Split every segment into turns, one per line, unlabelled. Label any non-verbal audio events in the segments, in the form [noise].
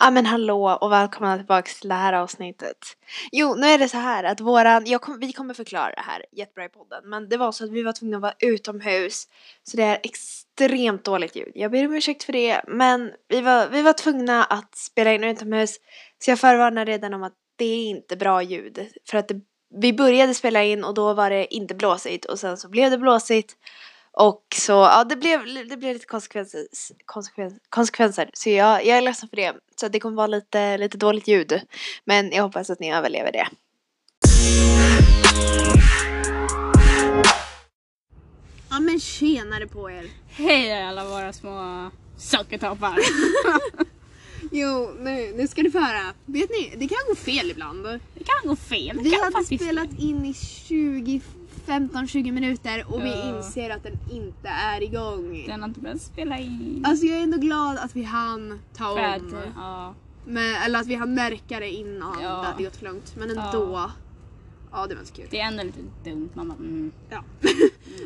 Ja men hallå och välkomna tillbaka till det här avsnittet. Jo, nu är det så här att våran, jag kom, vi kommer förklara det här jättebra i podden, men det var så att vi var tvungna att vara utomhus så det är extremt dåligt ljud. Jag ber om ursäkt för det, men vi var, vi var tvungna att spela in utomhus så jag förvarnar redan om att det är inte bra ljud för att det, vi började spela in och då var det inte blåsigt och sen så blev det blåsigt och så, ja det blev, det blev lite konsekvenser, konsekven, konsekvenser. Så jag, jag är ledsen för det. Så det kommer vara lite, lite dåligt ljud. Men jag hoppas att ni överlever det. Ja men tjenare på er.
Hej alla våra små sockertoppar!
[laughs] Jo, nu, nu ska ni få höra. Vet ni, det kan gå fel ibland.
Det kan gå fel. Det
Vi
kan
hade
faktiskt
spelat in i 20, 15-20 minuter och vi
Ja.
inser att den inte är igång.
Den har inte börjat spela in.
Alltså jag är ändå glad att vi hann ta
För att,
om.
ja.
Men, eller att vi hann märka det innan
Ja.
det hade gått för långt. Men ändå. Ja, det var inte så kul.
Det är ändå lite dumt. Man bara, mm.
Ja. [laughs]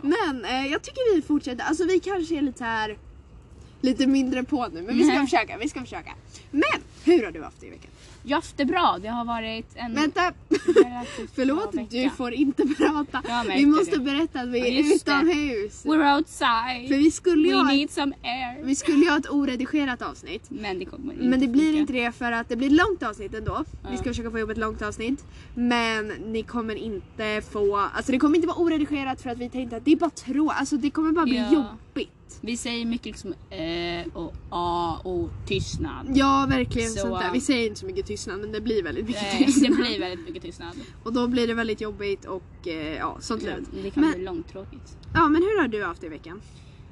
men eh, jag tycker vi fortsätter. Alltså vi kanske är lite så här lite mindre på nu. Men vi ska
Mhm.
försöka, vi ska försöka. Men hur har du haft det i veckan?
Jag har haft det bra. Det har varit en
Vänta! [laughs]
relativt
Förlåt,
bra vecka.
du får inte [laughs] prata.
Jag märkte
Vi måste
det.
berätta att vi
Ja,
är
just det.
utomhus.
We're
För
outside.
vi skulle ju
We
ha ett,
need some air.
vi skulle ju ha ett oredigerat avsnitt.
Men det kommer inte
Men det blir
funka.
inte det för att det blir ett långt avsnitt ändå. Vi
Ja.
ska försöka få ihop ett långt avsnitt. Men ni kommer inte få, alltså det kommer inte vara oredigerat för att vi tänkte att det är bara trå, alltså det kommer bara bli
Ja.
jobbigt.
Vi säger mycket liksom ö och a och tystnad.
Ja verkligen
Så,
sånt där.
um,
Vi säger inte så mycket tystnad men det blir väldigt mycket
Nej, Eh, [laughs] Det
tystnad.
blir väldigt mycket tystnad.
Och då blir det väldigt jobbigt och eh, ja sånt lud.
Mm, Det kan
Men-
bli långtråkigt.
Ja men hur har du haft det i veckan?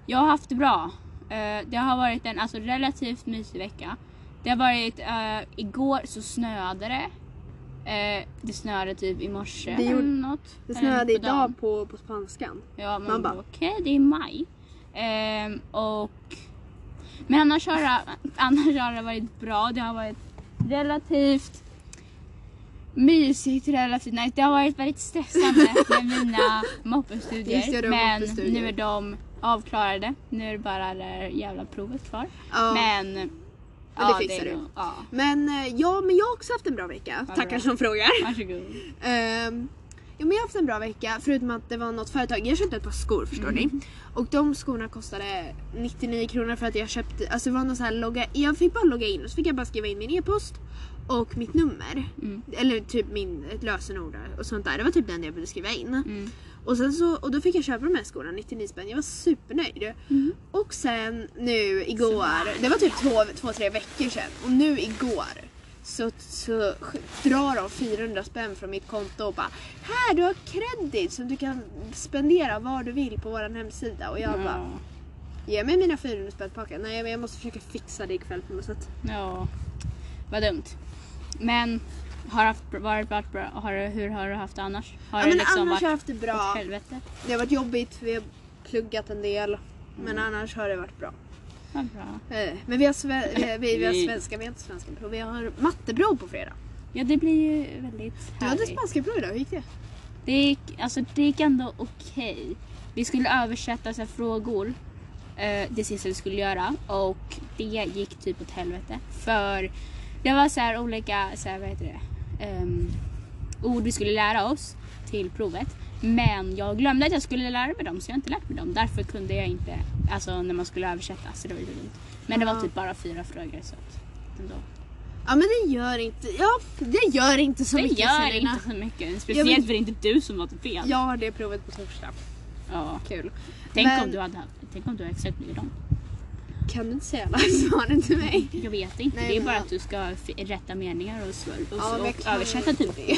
Jag har haft det bra. Eh, Det har varit en alltså, relativt mysig vecka. Det har varit, eh, igår så snöade det. Eh, det snöade typ i morse
Det gjorde-
eller något.
Det
Eller
snöade
Eh, på dagen.
idag på, på spanskan.
Ja, man,
Man
man
bara-
bara okej det är maj. Ehm, och... Men annars har, det, annars har det varit bra. Det har varit relativt mysigt, relativt nice. Det har varit
[laughs]
väldigt stressande med mina
Just det,
moppestudier.
du har
men
moppestudier.
nu är de avklarade. Nu är det bara det där jävla provet kvar.
Ja.
Men...
det fixar
är
du.
nog- Ja,
Men eh, ja, men jag har också haft en bra vecka.
Vad
Tackar
bra.
som frågar.
varsågod.
Ehm, ja, men jag har haft en bra vecka förutom att det var något företag. Jag köpte ett par skor förstår ni. Och de skorna kostade 99 kronor för att jag köpte, alltså det var någon sån här logga, jag fick bara logga in och så fick jag bara skriva in min e-post och mitt nummer.
Mm.
Eller typ min, ett lösenord och sånt där. Det var typ den jag behövde skriva in.
Mm.
Och, sen så, och då fick jag köpa de här skorna, 99 spänn. Jag var supernöjd.
Mm.
Och sen nu igår, det var typ två, två tre veckor sedan. Och nu igår så, så sk- drar de 400 spänn från mitt konto och bara Här du har kredit som du kan spendera var du vill på vår hemsida. Och jag bara
Ja.
Ge mig mina 400 spänn tillbaka. Nej men jag måste försöka fixa det ikväll på något sätt.
Ja, vad dumt. Men har haft, varit, varit bra? Har, du- hur har du haft det annars? Har
Ja,
det
men
liksom
annars har jag
varit
haft det
åt
bra.
helvete?
Det har varit jobbigt för vi har pluggat en del. Men
Mm.
annars har det varit bra.
Vad bra.
Eh, Men vi har, sve- vi, vi,
[laughs]
vi har
Vi-
svenska, vi har inte svenska prov. Vi har matteprov på fredag.
Ja, det blir ju väldigt
Du hade
härligt.
spanska prov idag, hur gick det?
Det gick, alltså, det gick ändå okej. Vi skulle översätta så här, frågor. eh, det sista vi skulle göra. Och det gick typ åt helvete. För det var så här olika, så här, vad heter det? Ehm, ord vi skulle lära oss till provet. Men jag glömde att jag skulle lära mig dem så jag har inte lärt mig dem. Därför kunde jag inte, alltså när man skulle översätta. Så det var ju dumt. Men det var
Ja.
typ bara fyra frågor så att ändå.
Ja men det gör inte, ja det gör inte så
Det
mycket
gör
Selena.
inte så mycket. Speciellt för det är inte du som var till fel.
Jag har det provet på torsdag.
Ja.
Kul.
Tänk,
Men-
om du hade, haft- tänk om du har exakt likadan.
Kan du inte säga [laughs] alla svaren till mig?
Jag vet inte.
Nej,
det är
men-
bara att du ska f- rätta meningar och, svör, och,
Ja, men jag
och
kan
översätta
inte
typ.
det.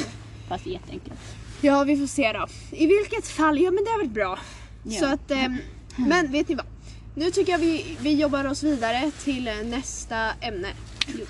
Fast jätteenkelt.
[laughs] Ja vi får se då. I vilket fall, ja men det har varit bra.
Ja.
Så att, ehm, men vet ni vad? Nu tycker jag vi, vi jobbar oss vidare till eh, nästa ämne. Jo.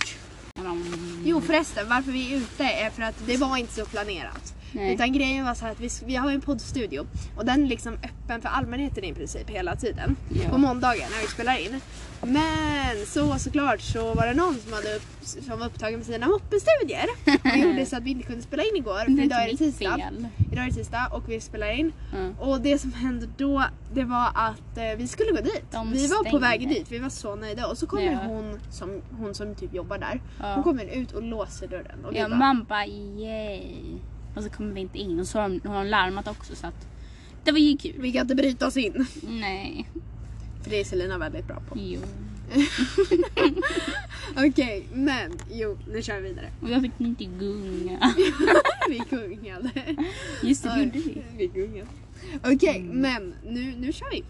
Mm.
Jo förresten, varför vi är ute är för att det var inte så planerat.
Nej.
Utan grejen var så här att vi, vi har ju en poddstudio och den är liksom öppen för allmänheten i princip hela tiden.
Ja.
På måndagar när vi spelar in. Men så såklart så var det någon som, hade upp, som var upptagen med sina
[laughs]
moppestudier och gjorde så att vi inte kunde spela in igår.
Det är
För idag är det
inte mitt
tisdag.
fel.
Idag är det tisdag och vi spelar in.
Mm.
Och det som hände då, det var att eh, vi skulle gå dit.
De
vi var på
stängde.
väg dit, vi var så nöjda. Och så kommer
Ja.
hon, som, hon som typ jobbar där,
Ja.
hon kommer ut och låser dörren. Och vi
Ja,
bara,
man bara yay. Och så kommer vi inte in och så har de, har de larmat också så att det var ju kul.
vi kan inte bryta oss in.
Nej.
För det är Selina väldigt bra på.
Jo.
Okej, men jo, nu kör vi vidare. [laughs]
Och jag fick inte gunga.
vi gungade.
Just det, det
Oj,
gjorde vi.
Vi gungade. Okej, men nu, nu kör vi.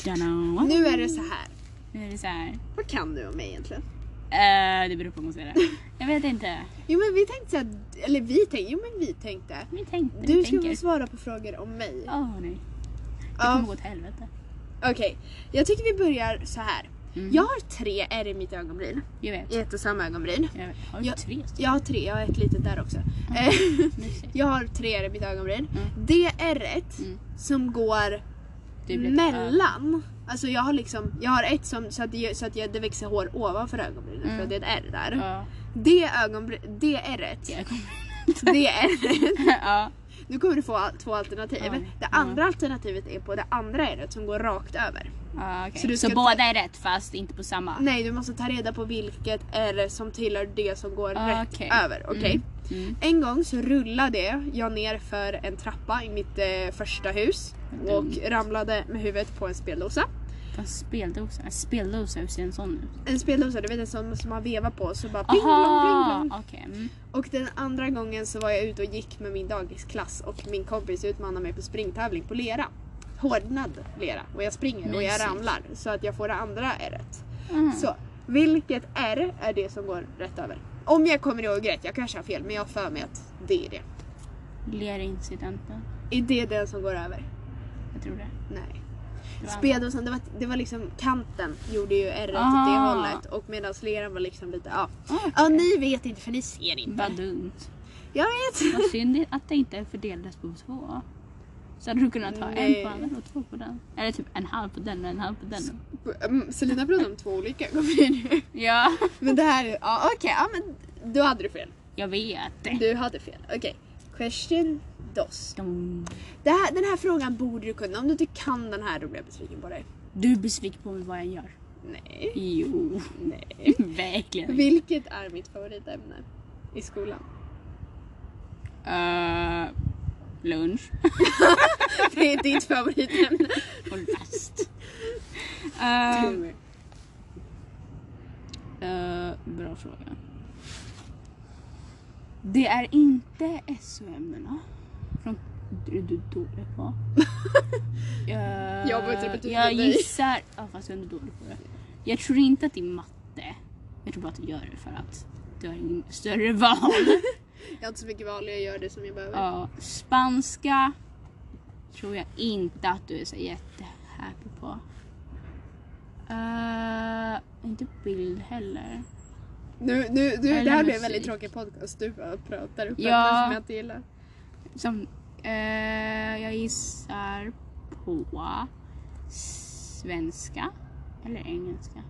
Tjena.
Nu är det så här.
Nu är det så här.
Vad kan du om mig egentligen?
Eh, det beror på om man säger det. Jag vet inte.
Jo men vi tänkte så här, eller vi tänkte, jo men vi tänkte.
Vi tänkte,
Du
vi
ska
tänker.
få svara på frågor om mig.
Åh nej. Det
Ja,
kommer gå åt helvete.
Okej, jag tycker vi börjar så här.
Mm.
Jag har tre ärr i mitt ögonbryn.
Jag vet.
I ett och samma ögonbryn.
Jag har ju
Jag-
tre stycken.
Jag har tre, jag har ett litet där också. [laughs] Eh,
Nu ser jag.
jag har tre ärr i mitt ögonbryn.
Mm.
Det ärret
Mm.
som går
Du blir-
mellan. Alltså jag har liksom, jag har ett som, så att, det, så att jag, det växer hår ovanför ögonbrynet
Mm.
för att det är ett ärr där.
Ja.
Det ögonbryn, det ärret,
Ja, jag kommer- [laughs]
det ärret.
ja.
Nu kommer du få al- två alternativ.
Ja.
Det andra alternativet är på det andra ärret som går rakt över.
Ja, okej.
Så du
Så,
ska Mm.
båda är rätt fast inte på samma?
Nej, du måste ta reda på vilket ärr som tillhör det som går
Ah,
rätt
okej.
över. Okej?
Mm. Mm.
En gång så rullade jag ner för en trappa i mitt eh, första hus
Dumt.
och ramlade med huvudet på en speldosa.
Fan, speldosa. En Speldosa, hur ser en sån ut?
En speldosa, du vet en sån som man vevar på så bara pling, plong, pling,
Aha!
plong.
Okej. Mm.
Och den andra gången så var jag ute och gick med min dagisklass och min kompis utmanade mig på springtävling på lera. Hårdnad lera. Och jag springer och jag
Mysigt.
ramlar så att jag får det andra ärret.
Mm.
Så vilket R är det som går rätt över? Om jag kommer ihåg rätt, jag kanske har fel men jag har för mig att det är det.
Mm. Lerincidenten.
Är det den som går över?
Jag tror det.
Nej.
det var
Spedosen, det var, det var liksom kanten gjorde ju ärret åt det
Ah.
hållet och medan leran var liksom lite, ja.
Okej.
Ja ni vet inte för ni ser
andra.
inte.
Ah. Vad dumt.
Jag vet.
Vad synd att det inte fördelades på två. Så hade du kunnat ha
Nej.
en på den och två på den. Eller typ en halv på den och en halv på den.
Mm, Selina pratar om två olika ögonbryn nu.
Ja.
Men det här, ja okej, ja, men du hade du fel.
Jag vet.
Du hade fel. Okej. Question dos.
De-
Det här, den här frågan borde du kunna. Om du inte kan den här då blir jag besviken på dig.
Du är besviken på mig vad jag gör.
Nej.
Jo.
Nej.
[laughs] Verkligen.
Vilket är mitt favoritämne i skolan? [laughs]
Eh, lunch.
Det är ditt favoritämne.
Håll fast. Eh, Eh, bra fråga. Det är inte SO-ämnena. Från du är du dålig
[laughs]
på. Eh,
Jag var inte betydligt
Jag
med dig.
gissar... Ja, fast jag är inte dålig på det. Jag tror inte att det är matte. Jag tror bara att du gör det för att du har ingen större [laughs] val.
Jag har inte så mycket val, jag gör det som jag behöver.
Ja, spanska tror jag inte att du är så jättehappy på. Eh, inte bild heller.
Nu, nu, nu, det
Eller
här blir en
musik.
väldigt tråkig podcast. Du bara pratar upp
Ja.
ämnen som jag inte gillar.
Som, eh, jag gissar på svenska eller engelska.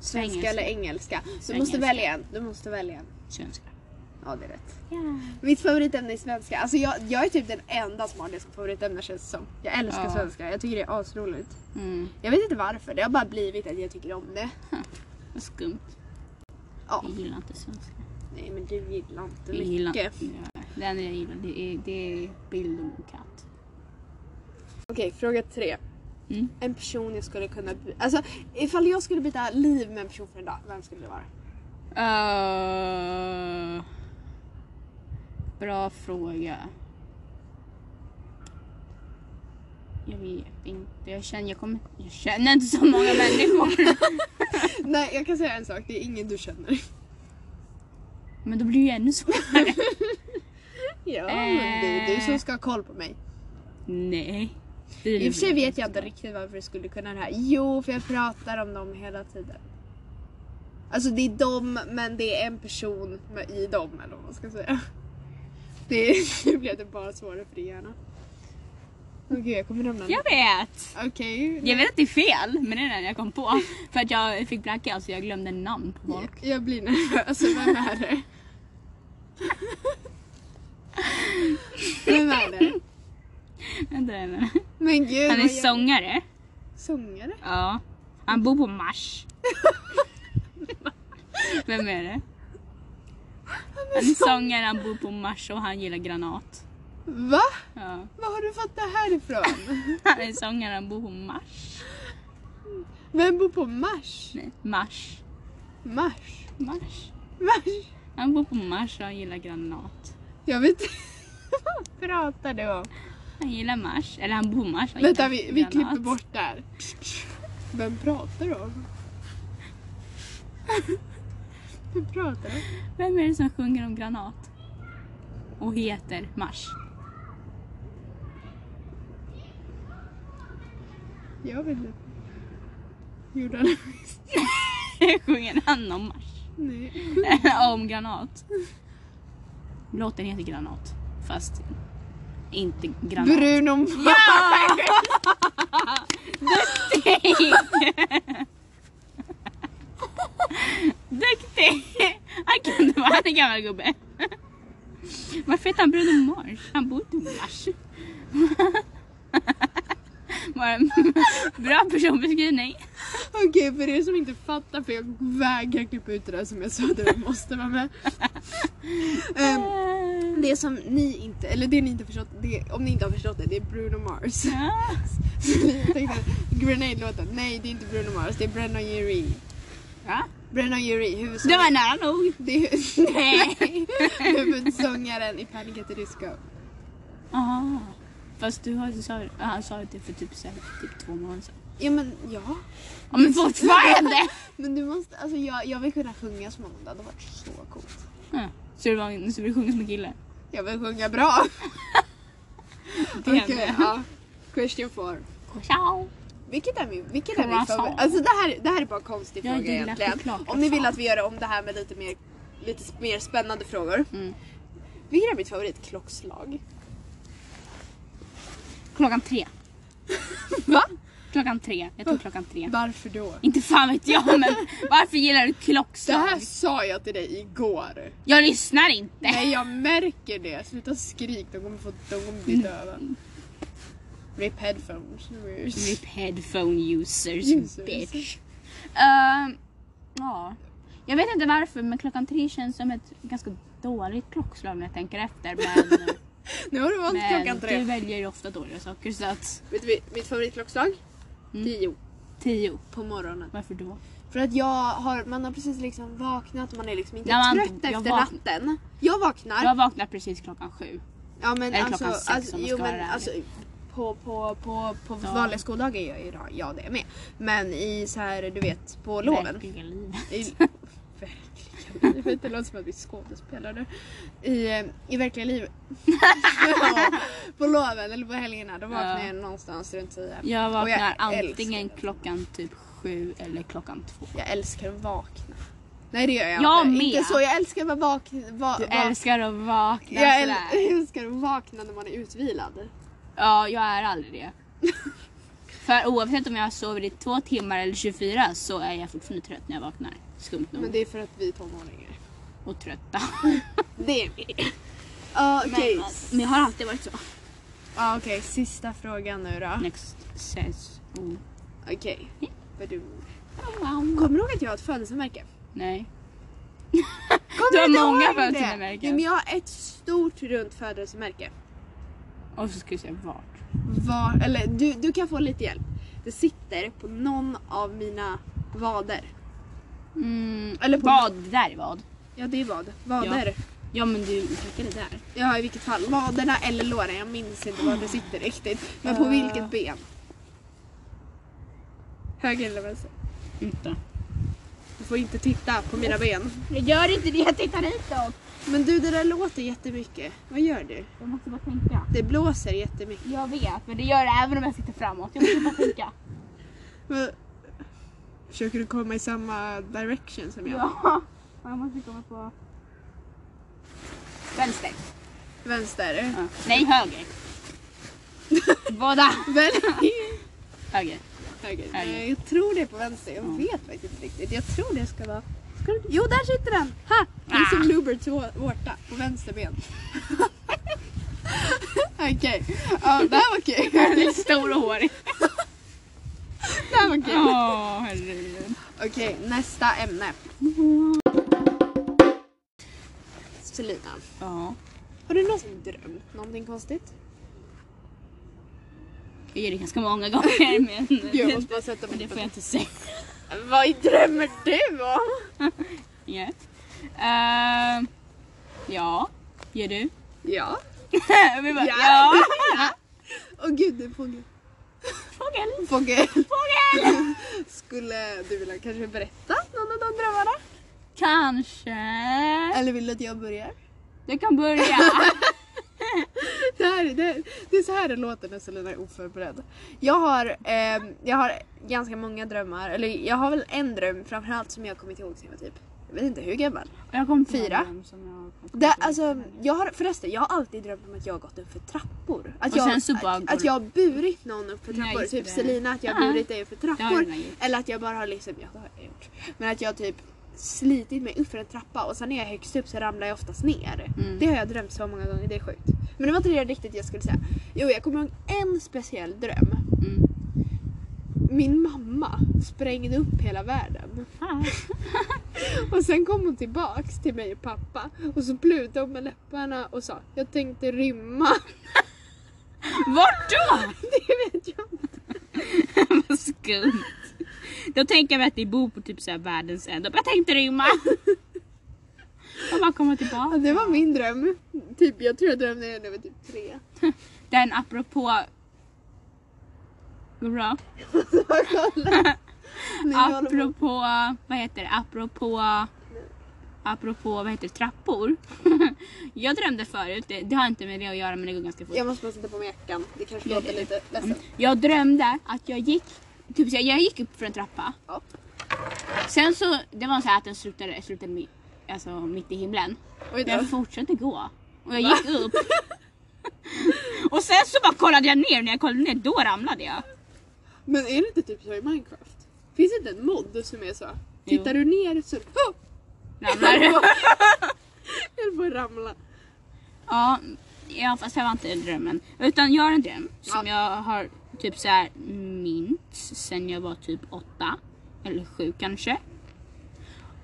Svenska eller engelska. Du måste
Engelska.
välja en. Du måste välja en.
Svenska.
Ja, det är rätt.
Ja.
Mitt favoritämne är svenska. Alltså jag, jag är typ den enda som har det som favoritämne känns det som. Jag älskar
Ja.
svenska, jag tycker det är asroligt.
Mm,
Jag vet inte varför, det har bara blivit att jag tycker om det.
vad skumt.
Ja.
Jag gillar inte svenska.
Nej men du gillar inte
Mm. Jag
mycket.
gillar, ja, det enda jag gillar det är, det är bild och katt.
Okej, fråga tre.
Mm.
En person jag skulle kunna... by- Alltså ifall jag skulle byta liv med en person för en dag, vem skulle det vara?
Eh, bra fråga. Jag vet inte. Jag känner, jag, kommer, jag känner inte så många
[laughs]
människor.
Nej jag kan säga en sak, det är ingen du känner.
Men då blir det ju ännu svårare.
[laughs] ja men det är du som ska ha koll på mig.
Nej. Det är
I och för sig
lugnt.
vet jag inte riktigt varför du skulle kunna det här. Jo, för jag pratar om dem hela tiden. Alltså det är dem men det är en person med, i dem eller vad man ska säga. [laughs] Det, [laughs] nu blev det bara svårare för din hjärna. Åh gud, jag kommer ramla ner.
Jag vet!
Okej.
Jag vet att det är fel, men det är den jag kom på. För att jag fick blackout så jag glömde namn på folk.
Jag blir nervös. alltså, Vem är det? Vem är det?
Vänta, vänta.
Men gud.
Han är
vad jag-
sångare.
Sångare?
Ja. Han bor på Mars. [laughs] Vem är det? Han är sångare, han bor på Mars och han gillar granat.
Va?
Ja.
Var har du fått det här ifrån?
Han är sångare, han bor på Mars.
Vem bor på Mars?
Nej, Mars.
Mars?
Mars.
Mars?
Han bor på Mars och han gillar granat.
Jag vet inte. [laughs] Vad pratar du om?
Han gillar Mars. Eller han bor på Mars. han
Vänta,
gillar
vi, vi
granat.
klipper bort där. Vem pratar du om? Vem pratar du om?
Vem är det som sjunger om granat? Och heter Mars. [laughs]
Jag vet inte. Gjorde han
Sjunger han om Mars?
Nej.
[laughs] om granat. Låten heter Granat. Fast inte granat.
Bruno Mars!
Duktig! [laughs] Duktig! Han kan inte vara en gammal gubbe. [laughs] Varför heter han Bruno Mars? Han bor inte i Mars. [laughs] Var en Bra personbeskrivning.
Okej, för er som inte fattar, för jag vägrar klippa ut det där som jag sa, det där måste vara
[laughs]
med. Ehm, det som ni inte, eller det ni inte förstått, det, om ni inte har förstått det, det är Bruno Mars. [laughs]
Ja.
Så jag tänkte, Grenade-låten, nej det är inte Bruno Mars, det är Brenna Uree.
Ja.
Brenna Uree, huvudsång...
Det var nära nog.
[laughs] det är, nej! Huvudsångaren i Panic at the Disco.
Aha. Fast du har, du sa, ja, han sa det för typ, så här, typ två månader sedan.
Ja men ja.
Ja,
[laughs]
men fortfarande!
Men du måste, alltså jag, jag vill kunna sjunga som honom, det hade varit så coolt.
Ja, Så du, var, så du sjunger som en kille?
Jag vill sjunga [laughs] bra.
Det är
Okej,
det.
ja. Question four.
Ciao!
Vilket är min, vilket är min
Croissant.
favorit? Alltså det här, det här är bara konstig
Jag
fråga
gillar
egentligen.
choklad,
Om ni vill
croissant.
att vi gör om det här med lite mer, lite s- mer spännande frågor.
Mm.
Vilket är mitt favoritklockslag?
Klockan tre.
Va?
Klockan tre. Jag tog klockan tre.
Varför då?
Inte fan vet jag men varför gillar du
Det
klockslag?
här sa jag till dig igår.
Jag lyssnar inte.
Nej jag märker det. Sluta skrik, de kommer, få, de kommer bli döva. Rip headphones.
Rip headphone users,
Users.
bitch. Ehm, ja. Jag vet inte varför men klockan tre känns som ett ganska dåligt klockslag när jag tänker efter. Men,
Nu har du valt [laughs] klockan
men
tre.
du väljer ju ofta dåliga saker så att
Vet du vi- mitt favoritklockan?
Mm.
Tio
tio.
på morgonen.
Varför då?
För att jag har, man har precis liksom vaknat, man är liksom inte
Nej, man-
trött
jag
efter
vakn-
natten. Jag vaknar.
Jag vaknar precis klockan sju.
ja men
eller
alltså,
klockan sex
alltså,
om man
jo,
ska vara
men
ärlig.
alltså på, på, på, på
Ja.
vanliga skoldagar gör jag ja, det med. Men i så här, du vet, på loven.
Verkliga livet.
I, [laughs] verkliga livet, [laughs] det låter som att vi är skådespelare. I, eh, I verkliga
[laughs]
livet. ja, på loven eller på helgerna, då vaknar
Ja.
jag någonstans runt tio.
Jag
Och jag
vaknar
älskar
antingen
det.
klockan typ sju eller klockan två.
Jag älskar att vakna. Nej det gör jag,
Jag
inte.
med.
Inte så, jag älskar att vara vaken. Va,
Du
va-
älskar att vakna
jag äl-
sådär.
[laughs] älskar att vakna när man är utvilad.
Ja, jag är aldrig
[laughs]
det. För oavsett om jag sover i två timmar eller 24 så är jag fortfarande trött när jag vaknar. Skumt nog.
Men det är för att vi är tonåringar.
Och trötta.
Det är vi. Ja, Ah, Okej,
Men jag har alltid varit så.
Ja, okej, sista frågan nu då.
Next says... Oh.
Okej. Vad du-
Wow.
Kommer du ihåg att jag har ett födelsemärke?
Nej.
Kommer
Du har
inte ihåg
många
det?
födelsemärken.
Jo, men jag har ett stort runt födelsemärke.
Och så ska vi se vart.
Var, eller du, du kan få lite hjälp. Det sitter på någon av mina vader.
Mm.
Eller på-
vad? Det där är vad?
Ja, det är vad. Vader.
Ja men du pekade där.
Ja i vilket fall. Vaderna eller låren, jag minns inte var det sitter riktigt. Men på
Eh.
vilket ben? Höger eller vänster? Mm.
Inte.
Du får inte titta på mina ben.
Jag gör inte det, jag tittar hitåt.
Men du det där låter jättemycket. Vad gör du?
Jag måste bara tänka.
Det blåser jättemycket.
Jag vet, men det gör det även om jag sitter framåt. Jag måste bara tänka.
Men, Försöker du komma i samma direction som jag?
Ja. Jag måste komma på... Vänster.
Vänster.
Ja. Nej, [laughs] höger. Båda.
Väl-
Höger.
Okej,
Är det?
eh, Jag tror det är på vänster. Jag
Ja.
vet faktiskt inte riktigt. Jag tror det ska vara... Ska du... Jo, där sitter den! Ha! Det är
Ah.
som Luberts vå- vårta på vänster ben. [laughs] Okej. Ja, det här var kul.
Den är stor och hårig.
Det här var kul.
Åh, herregud.
Okej, nästa ämne. Selina,
Ja.
har du någonsin drömt någonting konstigt?
Jag gör det ganska många gånger men... [laughs]
Jag måste bara sätta
men
mig
det
på
får jag inte säga.
Vad drömmer du om?
Ja. Ehm, ja. Gör du? [laughs]
Ja.
Vi bara,
Ja.
ja. [laughs]
Åh gud, det är fågel.
Fågel.
[laughs] Fågel.
Fågel!
[laughs] Skulle du vilja kanske berätta någon av de drömmarna?
Kanske.
Eller vill du att jag börjar?
Du
[laughs]
kan börja.
Det, här, det, det är så här det låter när Selina är oförberedd. Jag har, ehm, jag har ganska många drömmar, eller jag har väl en dröm framförallt som jag kommit ihåg sen jag var typ, jag vet inte hur gammal.
Jag kom
på Fyra. Det, alltså, jag har, förresten, jag har alltid drömt om att jag har gått upp för trappor. Att,
Och
jag,
sen så bara
att,
går
att jag har burit någon upp för
Ja,
trappor.
just
typ
det.
Selina, att jag har
Ja.
burit dig upp för
Ja, det har
trappor.
jag gjort.
eller att jag bara har liksom, ja det har jag gjort. Men att jag typ slitit mig upp för en trappa och sen när jag är högst upp så ramlar jag oftast ner.
Mm.
Det har jag drömt så många gånger, det är sjukt. Men det var inte det riktigt jag skulle säga. Jo, jag kommer ihåg en speciell dröm.
Mm.
Min mamma sprängde upp hela världen.
Ah.
Och sen kom hon tillbaks till mig och pappa och så plutade hon med läpparna och sa jag tänkte rymma. [laughs]
Vart då?
Det vet jag inte.
[laughs] Vad skumt. Då tänker jag att ni bor på typ så här världens ände. Jag
[laughs]
tänkte rymma. Och bara komma tillbaka.
Ja, Det var min dröm. Typ, jag tror jag drömde det när jag var typ tre.
Den apropå... Går det bra?
När jag håller på-
Apropå, vad heter det, apropå, apropå vad heter det, trappor. [laughs] jag drömde förut, det, det har inte med det att göra men det går ganska fort.
Jag måste bara sätta på mig jackan. Det kanske
Ja,
låter
det-
lite
Mm.
ledset.
Jag drömde att jag gick, typ så här, jag gick upp för en trappa.
Ja.
Sen så, det var så här att den slutade, slutade mi, alltså, mitt i himlen.
Oj
Men
då.
jag fortsatte gå. Och jag gick
[laughs]
upp. och sen så bara kollade jag ner, när jag kollade ner då
[laughs]
ramlade jag.
Men är det inte typ så i Minecraft? Finns det inte en mod som är så?
Jo.
Tittar du ner så... [laughs] Oh!
Ramlade.
Jag får ramla.
Ja, ja fast det var inte drömmen. Utan jag har en dröm som jag har typ så här minns sen jag var typ åtta. Eller sju kanske.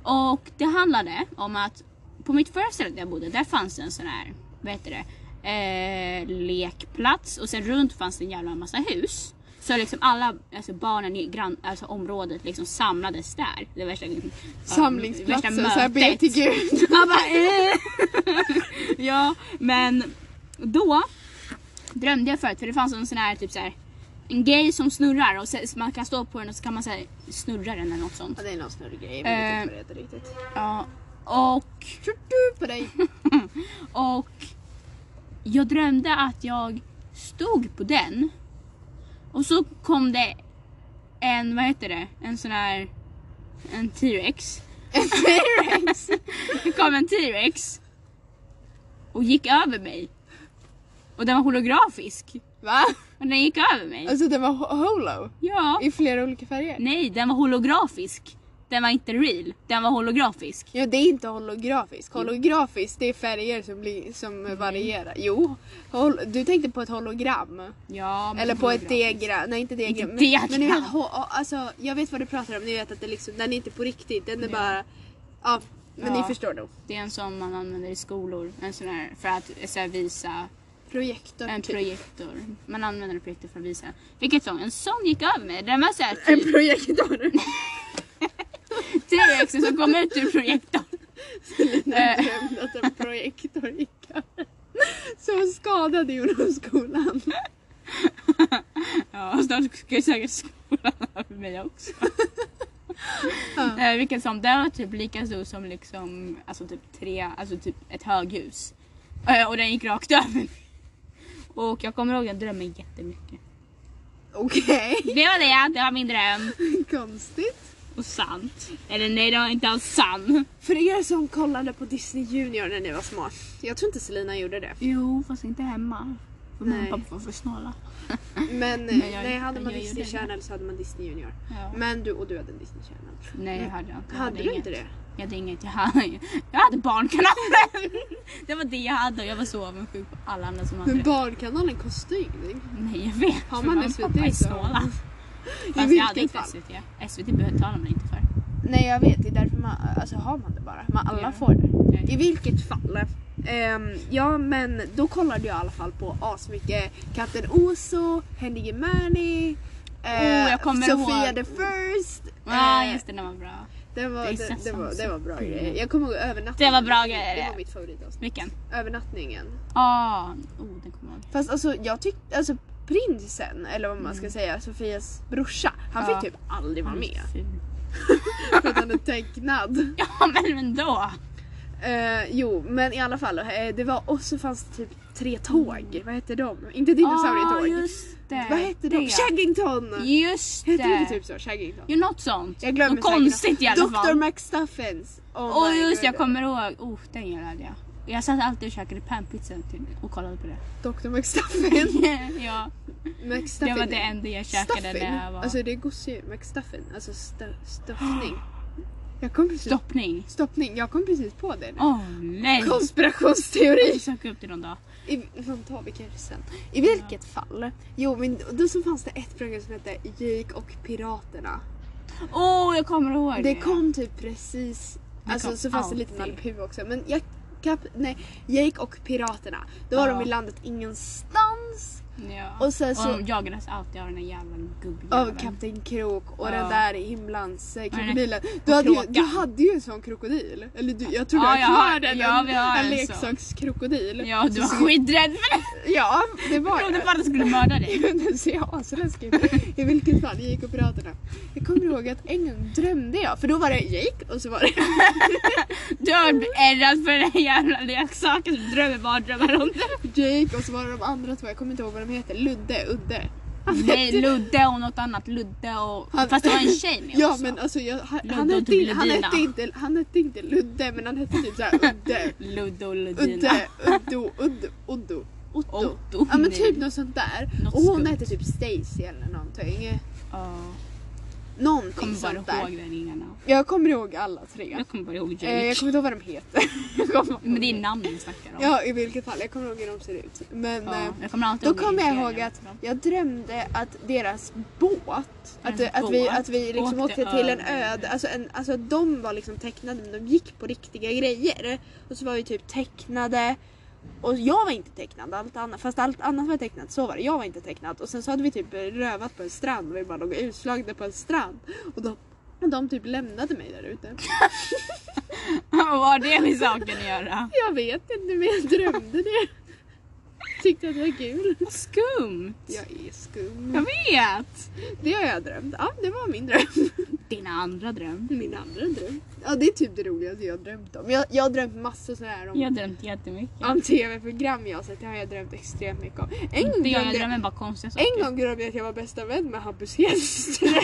Och det handlade om att på mitt förra ställe där jag bodde, där fanns det en sån här, vad heter det, eh, lekplats och sen runt fanns det en jävla massa hus. Så liksom alla alltså barnen i grann, alltså området liksom samlades där. Det värsta, ja,
Samlingsplatser,
värsta
såhär be
mötet.
till gud.
[laughs] Han bara, eh. ja, men då drömde jag förut för det fanns en sån här typ så här en grej som snurrar och så, så man kan stå på den och så kan man så här, snurra den eller något sånt.
Ja, det är någon snurrig grej, men jag vet
Eh.
inte vad det heter riktigt.
Ja, och,
Tror du på dig? [laughs]
och jag drömde att jag stod på den och så kom det en, vad heter det, en sån här, en T-rex.
En T-rex?
Det [laughs] kom en T-rex och gick över mig. Och den var holografisk.
Va?
Och den gick över mig.
Alltså den var ho- holo?
Ja.
I flera olika färger?
Nej, den var holografisk. Den var inte real. Den var holografisk.
Ja, det är inte holografiskt. Holografiskt, det är färger som, blir, som varierar. Jo, hol, du tänkte på ett hologram.
Ja, men
Eller på ett
holografisk.
diagram. Nej, inte diagram.
Inte diagram.
Men, men ni vet, ho, alltså, jag vet vad du pratar om. Ni vet att det liksom, den är inte på riktigt. Den är bara... Ja, men
Ja.
ni förstår nog.
Det är en som man använder i skolor. En sån här för att eh, så här, visa.
Projektor.
En
typ.
projektor. Man använder en projektor för att visa. Vilket sång? En sång gick över mig. Den var så här
En
typ [laughs]
projektor. [laughs]
T-rexen som kom ut ur projektorn.
När jag drömde att en projektor gick över. Som skadade ungdomsskolan.
Ja, [laughs] snart ska jag säkert skolan [laughs] över mig också.
Ja.
[laughs] Eh, vilken som, den var typ lika stor som liksom, alltså typ tre, alltså typ ett höghus. Eh, och den gick rakt över mig. Och jag kommer ihåg den drömmen jättemycket.
Okej,
Det var det, det var min dröm.
konstigt.
och sant. Eller nej, det var inte alls sant.
För er som kollade på Disney Junior när ni var små. Jag tror inte Selina gjorde det.
Jo, fast inte hemma. För mamma
Nej.
och pappa var för snåla.
Mm. Men,
Men jag-
nej, hade man
jag
Disney
gjorde det.
Channel så hade man Disney Junior.
Ja.
Men du, och du hade en Disney Channel.
Nej, jag hade jag inte. Jag
hade du
inget.
inte det?
Jag hade inget. Jag hade, jag hade Barnkanalen. [laughs] det var det jag hade och jag var så avundsjuk på alla andra som hade
Men
det.
Barnkanalen kostar ju ingenting.
Nej, jag vet.
Har
för
man
mamma och
SVT
pappa är
så-
snåla.
I
Fast jag hade
vilket
inte
fall?
SVT. SVT betalar man inte för.
Nej jag vet, det är därför man, alltså har man det bara. Man, alla
Ja.
får det.
Ja.
I vilket fall. ehm, ja men då kollade jag i alla fall på asmycket Katten Oso, Henning Mani,
Oh, jag kommer
Sofia
ihåg.
the First.
Ja,
eh,
just det. Den var bra.
Det var,
Det är
det, det,
Sesam
var, det var bra
Street.
grejer. Jag kommer ihåg övernattningen.
mm. Det var bra grejer,
Det
ja.
var mitt favoritavsnitt.
Vilken?
Övernattningen.
Ah, oh, den kommer jag ihåg.
Fast alltså jag tyckte, alltså prinsen eller vad man ska säga, Sofias brorsa, han
Mm. Ja. Mm.
fick typ aldrig vara med
Ful.
för att han är tecknad.
[laughs] Ja, men ändå.
Eh, jo men i alla fall, eh, det var, och så fanns det typ tre tåg. Vad hette de? Inte dinosaurietåg.
Mm. Ah, just det.
vad hette de? Shaggington!
Just
Hette det inte
det.
typ så? Shaggington?
Jo, något sånt.
Jag glömmer
Något
säkert.
konstigt i alla
Dr.
fall.
McStuffins! Oh
Åh
my
just det, jag
god.
kommer ihåg. Oh, den gillade jag. Jag satt alltid och käkade panpizza till och kollade på det.
Dr.
[laughs]
McStuffin!
ja, det
McStuffin.
var det enda jag käkade
Stuffin?
när jag var...
Alltså det är gosedjur. McStuffin. Alltså st
[gasps]
stuffning. Jag kom precis...
Doppning.
Stoppning. Jag kom precis på det nu.
Åh nej!
Konspirationsteori!
Jag söker upp det någon dag.
I, fan, tar vi kanske sen. I vilket fall. Jo men då så fanns det ett program som hette Jake och Piraterna.
Åh, jag kommer ihåg det.
Det kom typ precis...
Det
alltså
kom
så fanns det lite
alltid.
Nalle Puh också. Men jag, kap, nej, Jake och Piraterna. Då var
Ja.
de i landet ingenstans.
Ja.
Och sen
Och
så...
de jagades alltid av den där jävla
Av
gubbjäveln.
Kapten Krok och
Ja.
den där himlans eh,
den där
krokodilen. Du hade, ju,
kråkan.
du hade ju en sån krokodil. Eller du, jag tror
Ja,
jag
jag har-
klarade den.
ja, vi har
en
en sån.
leksakskrokodil.
Ja, du
Så
var
ser-
skiträdd för det.
Ja, det var
Jag trodde
jag. [laughs]
bara att jag skulle mörda dig.
Den ser asläskig ut. I vilket fall, jag gick och piraterna. Jag kommer ihåg att en gång drömde jag, för då var det Jake och så var det... [laughs]
Du har varit ärrad för den där jävla leksaken. Du drömmer bara drömmar om det.
Jake och så var det de andra två, jag kommer inte ihåg vad de heter, Ludde, Udde.
Nej, Ludde och något annat. Ludde och...
Han-
Fast det var en tjej med
Ja
också.
men alltså jag, han,
Ludde
han,
och
hette, han,
Ludina.
hette inte, han hette inte Ludde men han hette typ
[laughs]
såhär Udde.
Ludde och Ludina.
Udde, Uddo, Uddo, Uddo, Otto.
Otto,
Ja men
nej.
typ något sånt där.
Något
och hon
skumt.
hette typ Stacy eller någonting.
Ja.
Någonting
Kommer bara
sånt där.
ihåg den ringarna.
Jag kommer ihåg alla tre.
Jag kommer bara ihåg Jake.
Eh, jag kommer inte ihåg vad de heter. [laughs] Jag kommer ihåg
Men det är namn vi snackar om.
Ja i vilket fall, jag kommer ihåg hur de ser ut. Men
Ja,
eh,
jag kommer alltid
då
ihåg
kommer jag
serien
ihåg att
också. [laughs]
jag drömde att deras båt, att,
Deras
att vi,
båt
att vi liksom åkte,
åkte
till en
över.
öd, alltså, en, alltså att de var liksom tecknade men de gick på riktiga grejer. Och så var vi typ tecknade och jag var inte tecknad, allt annat, fast allt annat var tecknat, så var det. Jag var inte tecknad. Och sen så hade vi typ rövat på en strand och vi bara låg utslagna på en strand. Och de, och de typ lämnade mig där ute.
Vad har det med saken att göra?
Jag vet inte men jag drömde det. Tyckte att det var kul.
Vad skumt!
Jag är skum.
Jag vet!
Det har jag drömt. Ja, det var min dröm. [laughs]
Din andra dröm.
Min andra dröm. Ja, det är typ det roligaste jag har drömt om. Jag, jag har drömt massor sådana här om,
Jag har drömt jättemycket.
om tv-program jag har sett. Det har jag drömt extremt mycket om. En gång,
Det jag
drömde,
drömmer bara konstiga saker.
en gång drömde jag att jag var bästa vän med Hampus
[laughs]
Hedström.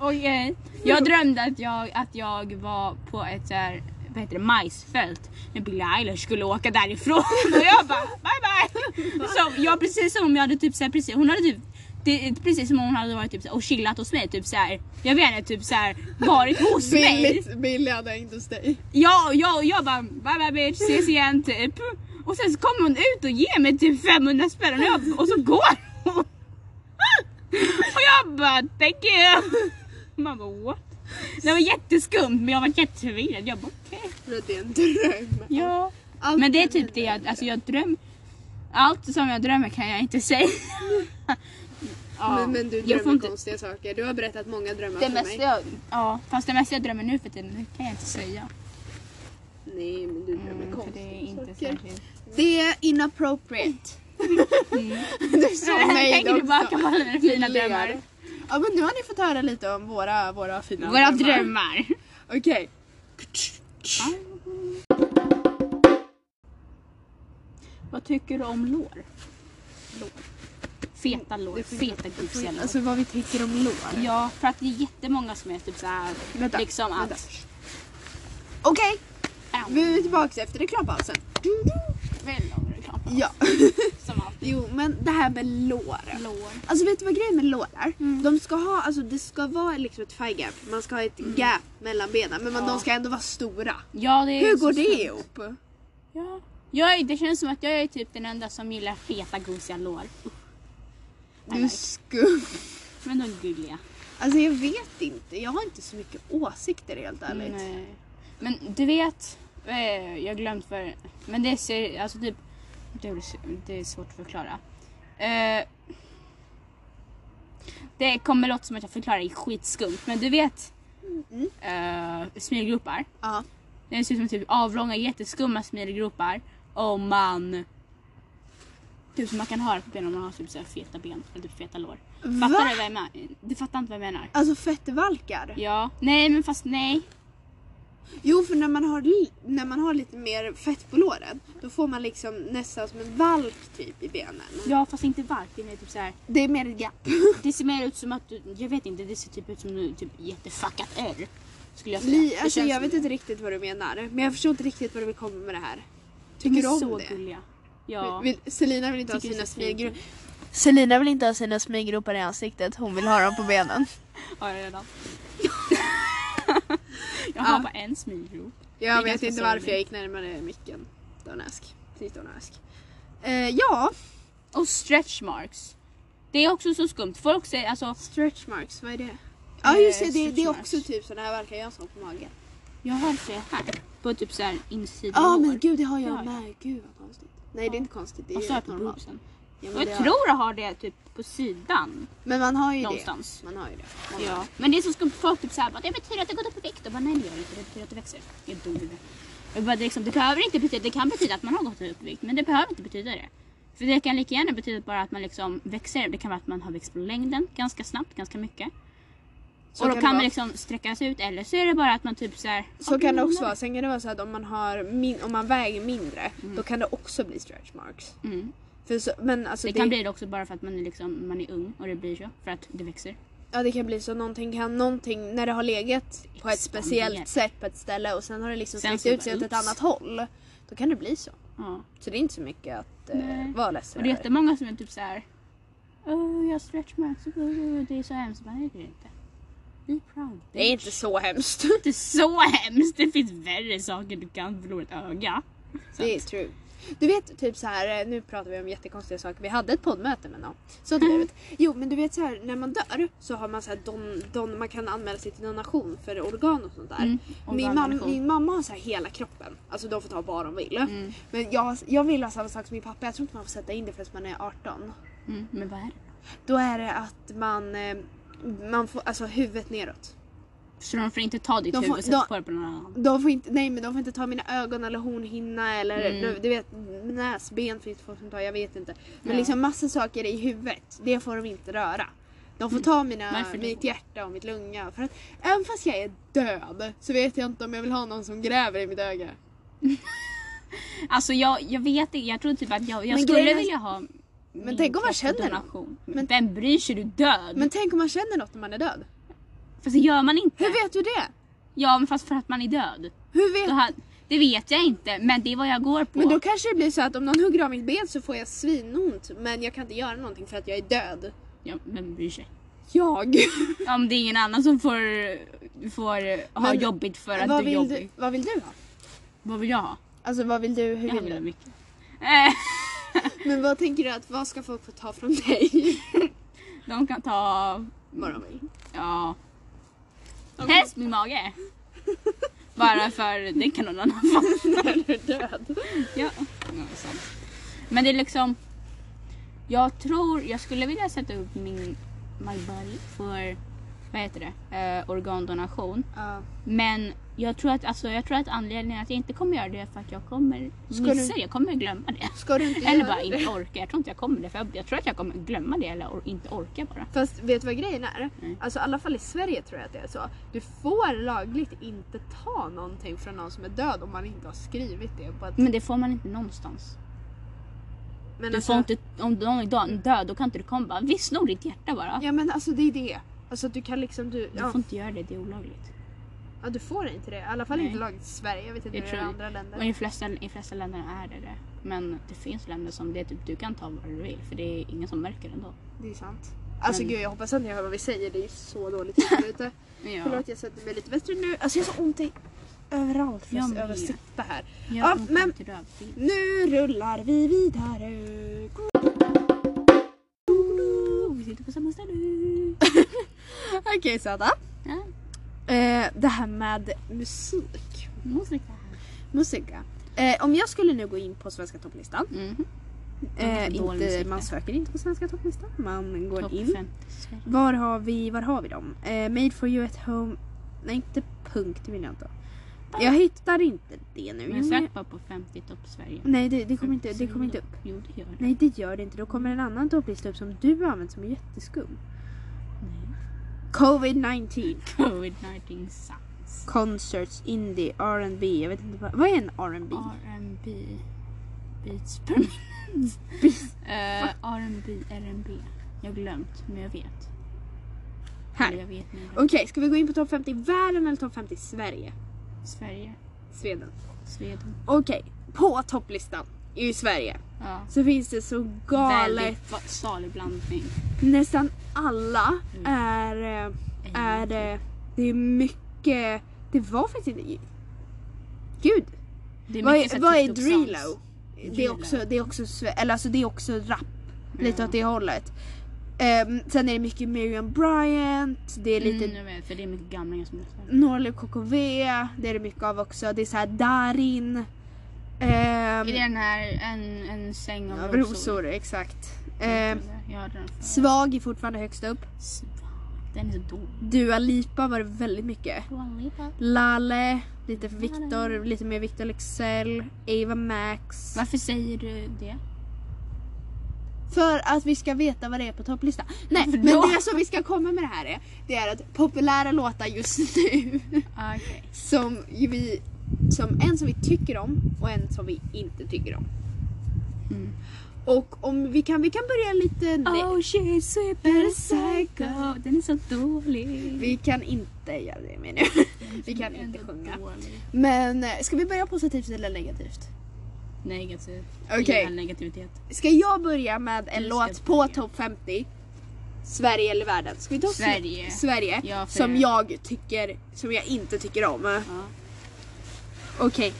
Okej.
Mm.
Jag drömde att jag, att jag var på ett så här, vad heter det, majsfält när Billie Eilish skulle åka därifrån [laughs] och jag bara bye bye. Så jag precis som om jag hade typ så här, precis, hon hade typ det, är precis som om hon hade varit typ så här, och chillat hos mig, typ så här, jag vet inte, typ så här, varit hos mig.
Billigt, billigt hade jag inte hos dig.
Ja, ja, och jag bara bye bye bitch, ses igen typ. Och sen så kommer hon ut och ger mig typ 500 spänn och, jag, och så går hon. Och jag bara thank you. Man bara what? Det var jätteskumt men jag var jätteförvirrad. Jag bara okej.
För att det är en dröm.
Ja.
Allt
Men det är
kan
typ
hända
det
i en
jag, alltså
dröm.
jag dröm. Allt som jag drömmer kan jag inte säga. Ja,
[laughs] men, men du
jag
drömmer
får inte-
konstiga saker. Du har berättat många drömmar
Det
för mig.
mesta jag, ja, fast det mesta jag drömmer nu för tiden det kan jag inte säga.
Nej, men du drömmer
Mm, för det
konstiga
är inte
saker.
särskilt.
Det är inappropriate. [laughs] du sa
[laughs]
nej
Tänker tillbaka på alla mina fina
Du ler.
drömmar.
Ja men nu har ni fått höra lite om våra, våra fina
Våra drömmar.
Okej.
Vad tycker du om lår? Feta lår, feta gufsiga lår.
Alltså vad vi tänker om lår.
Ja, för att det är jättemånga som är typ såhär,
Vänta,
liksom
vänta.
att...
Okej,
Au.
vi är tillbaka efter reklampausen.
Väldigt lång reklam på
Ja.
oss, som alltid.
Jo, men det här med lår.
Lår.
Alltså vet du vad grejen med lår är?
Mm.
De ska ha, alltså det ska vara liksom ett thigh gap, man ska ha ett gap mellan benen men man,
Mm. Ja.
de ska ändå vara stora.
Ja, det är
Hur
så
går det
skumt.
ihop?
Ja. Jag är, det känns som att jag är typ den enda som gillar feta gosiga lår. Usch.
Du
Nej,
är
nej.
skum.
Men de är gulliga.
Alltså jag vet inte, jag har inte så mycket åsikter helt ärligt.
Nej. Men du vet, eh, jag har glömt vad Men det ser, alltså typ, det är, det är svårt att förklara. Eh, det kommer låta som att jag förklarar det skitskumt, men du vet eh, smilgropar.
Ja.
Det ser ut som typ avlånga jätteskumma smilgropar om man Typ som man kan ha det på benen om man har typ så här feta ben eller typ feta lår. Fattar
Va?
du vad jag menar? Du fattar inte vad jag menar?
Alltså fettvalkar.
Ja. Nej men fast nej.
Jo för när man, har, li- när man har lite mer fett på låren då får man liksom nästan som en valk typ i benen.
Ja fast inte valk. Det är typ så här.
Det är mer ett gap.
Det ser mer ut som att du, jag vet inte, det ser typ ut som du typ jättefuckat är. Skulle jag säga.
Li-
Det
alltså
känns
jag
som
vet
det.
inte riktigt vad du menar men jag förstår inte riktigt vad du vill komma med det här.
De
Tycker
är
du om
så
det?
gulliga. Ja.
Vill, Selina vill inte ha
Tycker det
sina
är så fint.
smilgropar. Selina vill inte ha sina smilgropar i ansiktet, hon vill ha dem på benen.
Har jag
[laughs]
redan? jag har
Ja.
bara en smilgrop.
Jag vet
ganska
inte varför
sorgligt.
jag gick närmare micken. Det var en ask. Precis, det var en ask. Eh, ja,
Och stretch marks. Det är också så skumt. Folk säger alltså,
stretch marks, vad är det? Ja just det,
Eh,
det, det är
stretch
också
marks.
typ sådana här verkar jag som på magen.
jag har det här. På typ såhär insidan
Ja
lår.
men gud det har jag
Ja, ja.
med, gud vad konstigt. Nej det är inte konstigt, det är
Och
ju
så här
rätt
på
normalt.
boobsen.
Ja,
Och
men, det
jag
har,
tror jag har det typ på sidan.
men man har ju
Någonstans.
det. Man har ju det. Man har
Ja. Men det är så skumt. Folk typ såhär bara, det betyder att det går upp i vikt. Och bara, nej det gör det inte. Det betyder att det växer. Det är dum i huvudet. Jag bara, det, är liksom, det behöver inte betyda, det kan betyda att man har gått upp i vikt. Men det behöver inte betyda det. För det kan lika gärna betyda bara att man liksom växer. Det kan vara att man har växt på längden ganska snabbt, ganska mycket.
Så
och då
kan
kan,
det
man
vara.
liksom sträcka sig ut. Eller så är det bara att man typ såhär.
Så kan det också vara. Sen kan det vara så att om man, har min, om man väger mindre då kan det också bli stretch marks.
Mm.
För så, men alltså
Det kan bli det också bara för att man är, liksom, man är ung och det blir så. För att det växer.
Ja det kan bli så någonting kan någonting när det har legat på ett
Expanderar.
speciellt sätt på ett ställe och sen har det liksom
Sen
sträckt
så
ut sig
bara,
åt ett
ups.
annat håll. Då kan det bli så.
Ja.
Så det är inte så mycket att eh,
Nej.
vara ledsen
Och det är
över.
jättemånga som är typ såhär. Åh, jag har stretch marks. Åh, det är så hemskt. Bara, nej det är det inte. Be proud.
Det är inte så
[laughs]
hemskt.
inte så hemskt. Det finns värre saker du kan förlora ett öga.
det är true. Du vet typ så här, eh, nu pratar vi om jättekonstiga saker. Vi hade ett poddmöte med någon. Så att livet.
Mm.
Jo men du vet så här när man dör så har man så här don, don, man kan anmäla sig till donation för organ och sånt där.
Mm,
Min, mam,
organdonation.
min mamma har så här hela kroppen. Alltså de får ta vad de vill.
Mm.
Men jag, jag vill ha samma sak som min pappa. Jag tror inte man får sätta in det förrän man är 18.
Mm, men vad är det?
Då är det att man, eh, man får alltså huvudet neråt.
Så de får inte ta ditt
De får-
huvud och sätta
de-
på det på någon annan?
De får inte, nej men de får inte ta mina ögon eller hornhinna eller
Mm.
du, du vet näsben finns det folk som tar, jag vet inte. Men
Ja.
liksom massa saker i huvudet, det får de inte röra. De får ta mina,
Varför då?
mitt hjärta och mitt lunga. För att även fast jag är död så vet jag inte om jag vill ha någon som gräver i mitt öga.
Alltså jag, jag vet inte. Jag tror typ att jag, jag
Men
skulle
grejen är-
vilja ha min
tänk om man
kropp för
känner någon.
donation.
Men-
Men vem bryr sig? Du är död.
Men tänk om man känner något när man är död?
Fast det gör man inte.
Hur vet du det?
Ja men fast för att man är död.
Hur
Då
vet
ha- Det vet jag inte men det är vad jag går på.
Men då kanske det blir så att om någon hugger av mitt ben så får jag svinont men jag kan inte göra någonting för att jag är död.
Ja, vem bryr sig?
Jag.
Ja, Om det är ingen annan som får, får ha
Men
jobbigt för
vad,
att du är
vill
jobbig.
du, vad vill du ha?
Vad vill jag ha?
Alltså vad vill du, hur
Jag
vill
vill ha
du?
mycket. Eh,
Men vad tänker du att, vad ska folk få ta från dig?
De kan ta...
vad de vill.
Ja.
Okej.
Helst min mage. Bara för det kan någon
[laughs]
annan få.
När du är död.
Ja. ja, det är sant. Men det är liksom... Jag tror jag skulle vilja sätta upp min my body för vad heter det? Eh, organdonation.
Ja.
Men jag tror, att, alltså, jag tror att anledningen att jag inte kommer göra det är för att jag kommer
Ska
missa
du-
det. Jag kommer glömma det.
Ska du inte
Eller
göra
bara
det?
inte orka. Jag tror inte jag kommer det. För jag, jag tror att jag kommer glömma det eller or- inte orka bara.
Fast vet du vad grejen är?
Nej.
Alltså i alla fall i Sverige tror jag att det är så. Du får lagligt inte ta någonting från någon som är död om man inte har skrivit det på ett...
Men det får man inte någonstans.
Men
Du
alltså,
får inte, om någon är dö- död då kan inte du komma bara vi snor ditt hjärta bara.
Ja men alltså det är det. Alltså du kan liksom, du,
Du
ja,
får inte göra det, det är olagligt.
ja, du får inte det. I alla fall
Nej.
inte lagligt i Sverige, jag vet inte
Jag
hur det är i
tror-
andra
Och i
länder.
de flesta, i de flesta länder är det det. Men det finns länder som det är typ du kan ta vad du vill för det är ingen som märker ändå.
Det är sant. Alltså
Men-
gud jag hoppas att ni hör vad vi säger, det är ju så
[laughs]
dåligt här ute.
Ja.
Förlåt jag sätter mig lite bättre nu. Alltså jag har så ont i överallt för
Jag
jag
med.
behöver sitta här.
Jag
Ja,
kom
men-
fram till rövbild.
Nu rullar vi vidare.
Oh, Vi sitter på samma ställe.
Okej Sara.
Ja,
Eh, det här med musik.
musik.
Musika. Eh, om jag skulle nu gå in på svenska topplistan.
Mhm.
Eh,
Dålig
inte,
musik,
man
det.
söker inte på svenska topplistan. Man går
Topp
in.
50 Sverige.
Var har vi, var har vi dem? Eh, made for you at home. Nej inte punkt det vill jag inte. ha. Jag hittar inte det nu.
Men
Jo,
sök
jag-
bara på 50 topp Sverige.
Nej det, det kommer inte, det kommer inte upp.
Jo det gör det.
Nej det gör det inte. Då kommer en annan topplista upp som du har använt som är jätteskum. Covid-19.
Covid-19 sucks.
Concerts, indie, R&B. Jag vet inte vad, vad är en R&B?
R&B Beats per minute. Eh, R&B, R&B. Jag har glömt men jag vet.
Här.
Eller jag vet nu.
Okej, ska vi gå in på topp 50 i världen eller topp 50 i Sverige?
Sverige,
Sveden.
Sweden.
Okej, på topplistan i Sverige
Ja.
så finns det så galet.
Väldigt va- salig blandning.
Nästan alla är, eh, är eh, det är mycket, det var faktiskt inte, gud.
Det
Vad
mycket så
är,
här
vad är
TikTok-sounds.
Drilo? Det är
Drilo.
också, det är också, sve- eller alltså det är också rap. Lite
Ja.
åt det hållet. Ehm, sen är det mycket Miriam Bryant, det är lite
Mm, jag vet, för det är mycket gamlingar som lyssnar.
Norlie KKV, det är det mycket av också. Det är så här Darin. Ehm,
Är det den här en, en säng av
av rosor, exakt. Ehm,
Jag hörde den förut.
Svag är fortfarande högst upp.
Svag. Den är så dålig.
Dua Lipa var det väldigt mycket. Lale, lite för Viktor, lite mer Viktor Leksell, Ava Max.
Varför säger du det?
För att vi ska veta vad det är på topplistan.
[laughs]
Nej,
Varför
men
då?
det som vi ska komma med det här är, det är att populära låtar just [laughs] nu
Ah, Okej.
som ju vi, som en som vi tycker om och en som vi inte tycker om.
Mm.
Och om vi kan, vi kan börja lite... Nej,
Oh shit, super psycho. Den är så dålig.
vi kan inte göra det menar jag. [laughs] Vi kan inte
Ändå
sjunga.
dålig.
Men eh, ska vi börja positivt eller negativt?
Negativ.
Okej.
Gillar negativitet.
Ska jag börja med en
Du ska
låt på
börja.
topp 50? Sverige eller världen? Ska vi ta Sve-
Sverige.
Sverige
Ja, för
som
det.
jag tycker, som jag inte tycker om.
Ja.
Okej.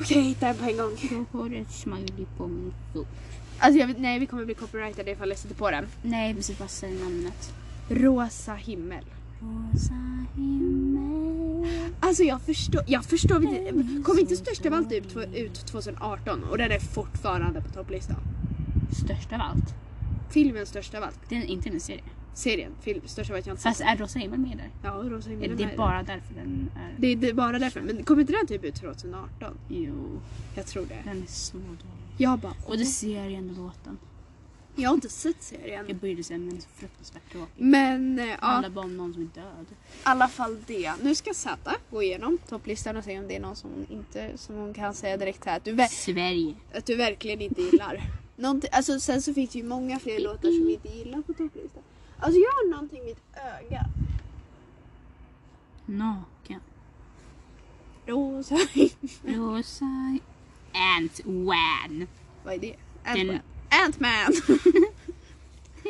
Okej, hitta en på en gång.
Jag har ett smiley på min fot.
Alltså jag vet, nej vi kommer bli copyrightade ifall jag sätter på den.
Nej, vi ska bara säga namnet.
Rosa himmel.
Rosa himmel.
Alltså jag förstår, jag förstår inte. Kom inte störst av allt ut, ut 2018 och den är fortfarande på topplistan.
Störst av allt.
Filmen störst av allt.
Det är inte en serie.
Serien, film, störst av allt jag inte
Fast
sett.
är Rosa himmel med där?
Ja, Rosa himmel. den
Eller det
är-
Alltså, är bara därför den är...
det, är- det är bara därför. Men kom inte den typ ut 2018?
Jo,
Jag tror det.
den är så dålig.
Jag bara,
Både serien och låten.
jag har inte sett
Jag
serien.
började säga men den är så fruktansvärt tråkig.
Men eh,
Det
ja,
handlar bara om någon som är död.
i alla fall det. Nu ska Zäta gå igenom topplistan och se om det är någon som hon inte, som hon kan säga direkt här att du, ver-
Sverige.
att du verkligen inte gillar. Någonting, alltså, sen så finns det ju många fler låtar som vi inte gillar på topplistan. Alltså jag har någonting i mitt öga.
Naken.
Rosa. [laughs]
Rosa. Ant-Wan.
Vad är det?
Den-
Ant-Man. Ant-Man.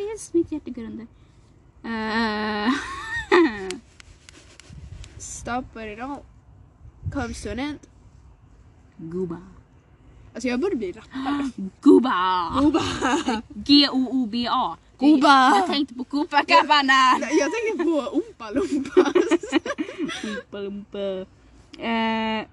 Yes, mitt hjärta går under. Eh, [laughs]
Stop but it all. Comes to an end.
Goba.
Alltså jag borde bli rappare.
Goba!
Goba.
G-O-O-B-A. Det-
Goba.
Jag tänkte på Copacabana.
jag tänkte på Oompa Loompas.
Oompa Loompa. Eh,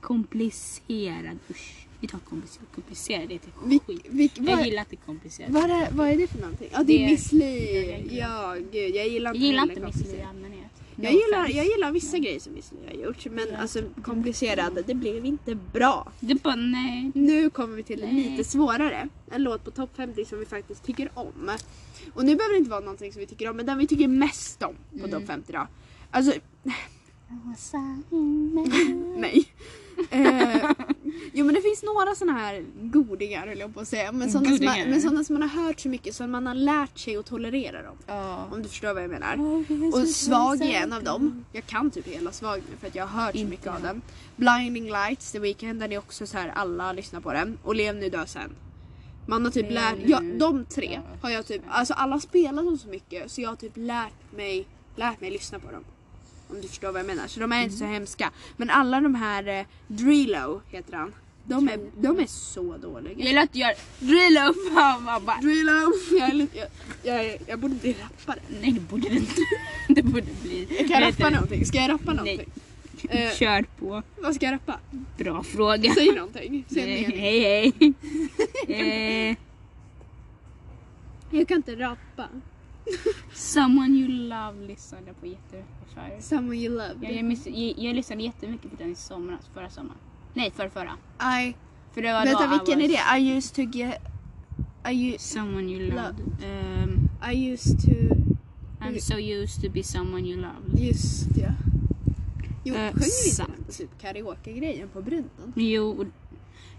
komplicerad. Usch. Vi tar komplicerad. Komplicerad det är
Vi-
till skit.
vi-
Jag
vad-
gillar inte komplicerad.
Vad är, vad är det för någonting? Ja det är
Det-
Miss
jag
Li.
gillar.
Ja gud jag gillar
Jag
inte
gillar
heller
inte Miss Li i
komplicerat.
allmänhet. No
jag gillar,
offense.
jag gillar vissa grejer som Miss Li har gjort men
Ja.
alltså komplicerad, det blev inte bra.
Det är bara nej.
Nu kommer vi till en
Nej.
lite svårare. En låt på topp 50 som vi faktiskt tycker om. Och nu behöver det inte vara någonting som vi tycker om men den vi tycker mest om [laughs]
Mm.
på topp 50 då. Alltså
Rosa himmel.
nej. Eh, jo men det finns några såna här godingar höll jag på att säga. Men sådana, som,
Godingar.
man- men sådana som man har hört så mycket så man har lärt sig att tolerera dem.
Ja.
Om du förstår vad jag menar. Och Svag är en av dem. Jag kan typ hela Svag nu för att jag har hört så
Inte
mycket av
jag.
den. Blinding Lights, The Weeknd, den är också så här alla lyssnar på den. Och Lev nu dö sen. Man har typ
Lev
lärt,
nu,
ja, de tre
dö
har jag typ, alltså alla spelar dem så mycket så jag har typ lärt mig, lärt mig lyssna på dem. Om du förstår vad jag menar. Så de är inte
Mm.
så hemska. Men alla de här, eh, Drilo heter han. De är, de är så dåliga.
Jag gillar att du gör reload fan vad bara...
Drilo, [laughs] jag, är lite- jag, jag, är- jag borde bli rappare.
Nej det borde du inte. [laughs] Det borde bli.
Kan jag rappa någonting? Ska jag rappa
Nej.
någonting? Eh,
[laughs] Kör på.
vad ska jag rappa?
Bra fråga. Eh,
Säg någonting. Säg en mening.
Hej hej.
[laughs]
Eh,
Jag kan inte rappa.
Someone you love lyssnade jag på jättemycket förr.
Someone you love.
Jag, jag, miss, jag, jag lyssnade jättemycket på den i somras, förra sommaren. Nej förra, förra.
I,
För det var
vänta,
då
vilken
I
är
was-
det? I used to get... I, u-
Someone you loved.
Loved.
Ehm,
I used to... Mm.
I'm so used to be someone you loved.
Just ja. Jo,
Eh,
sjöng vi inte
sant.
den på typ karaoke-grejen på brunnen?
Jo, och-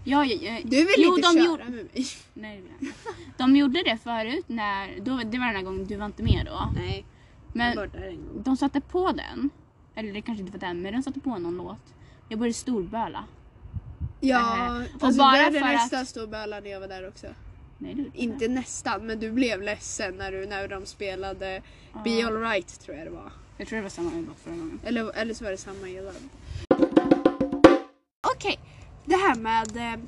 ja, ja, ja,
Du vill
jo,
inte
de
köra
gjorde,
med mig.
nej, det vill jag inte. De gjorde det förut när, då, det var den här gången du var inte med då.
Nej, jag var
Men
där en gång.
de satte på den, eller det kanske inte var den, men de satte på någon låt. Jag började storböla.
Ja,
Eh, och
alltså,
bara
du började
för att-
nästan stå och böla när jag var där också.
Nej, det gjorde jag
Inte nästan, men du blev ledsen när, du, när de spelade Be
Ja.
Alright tror jag det var.
Jag tror det var samma låt förra gången.
Eller, eller så var det samma i Irland. Okej, det här med... eh,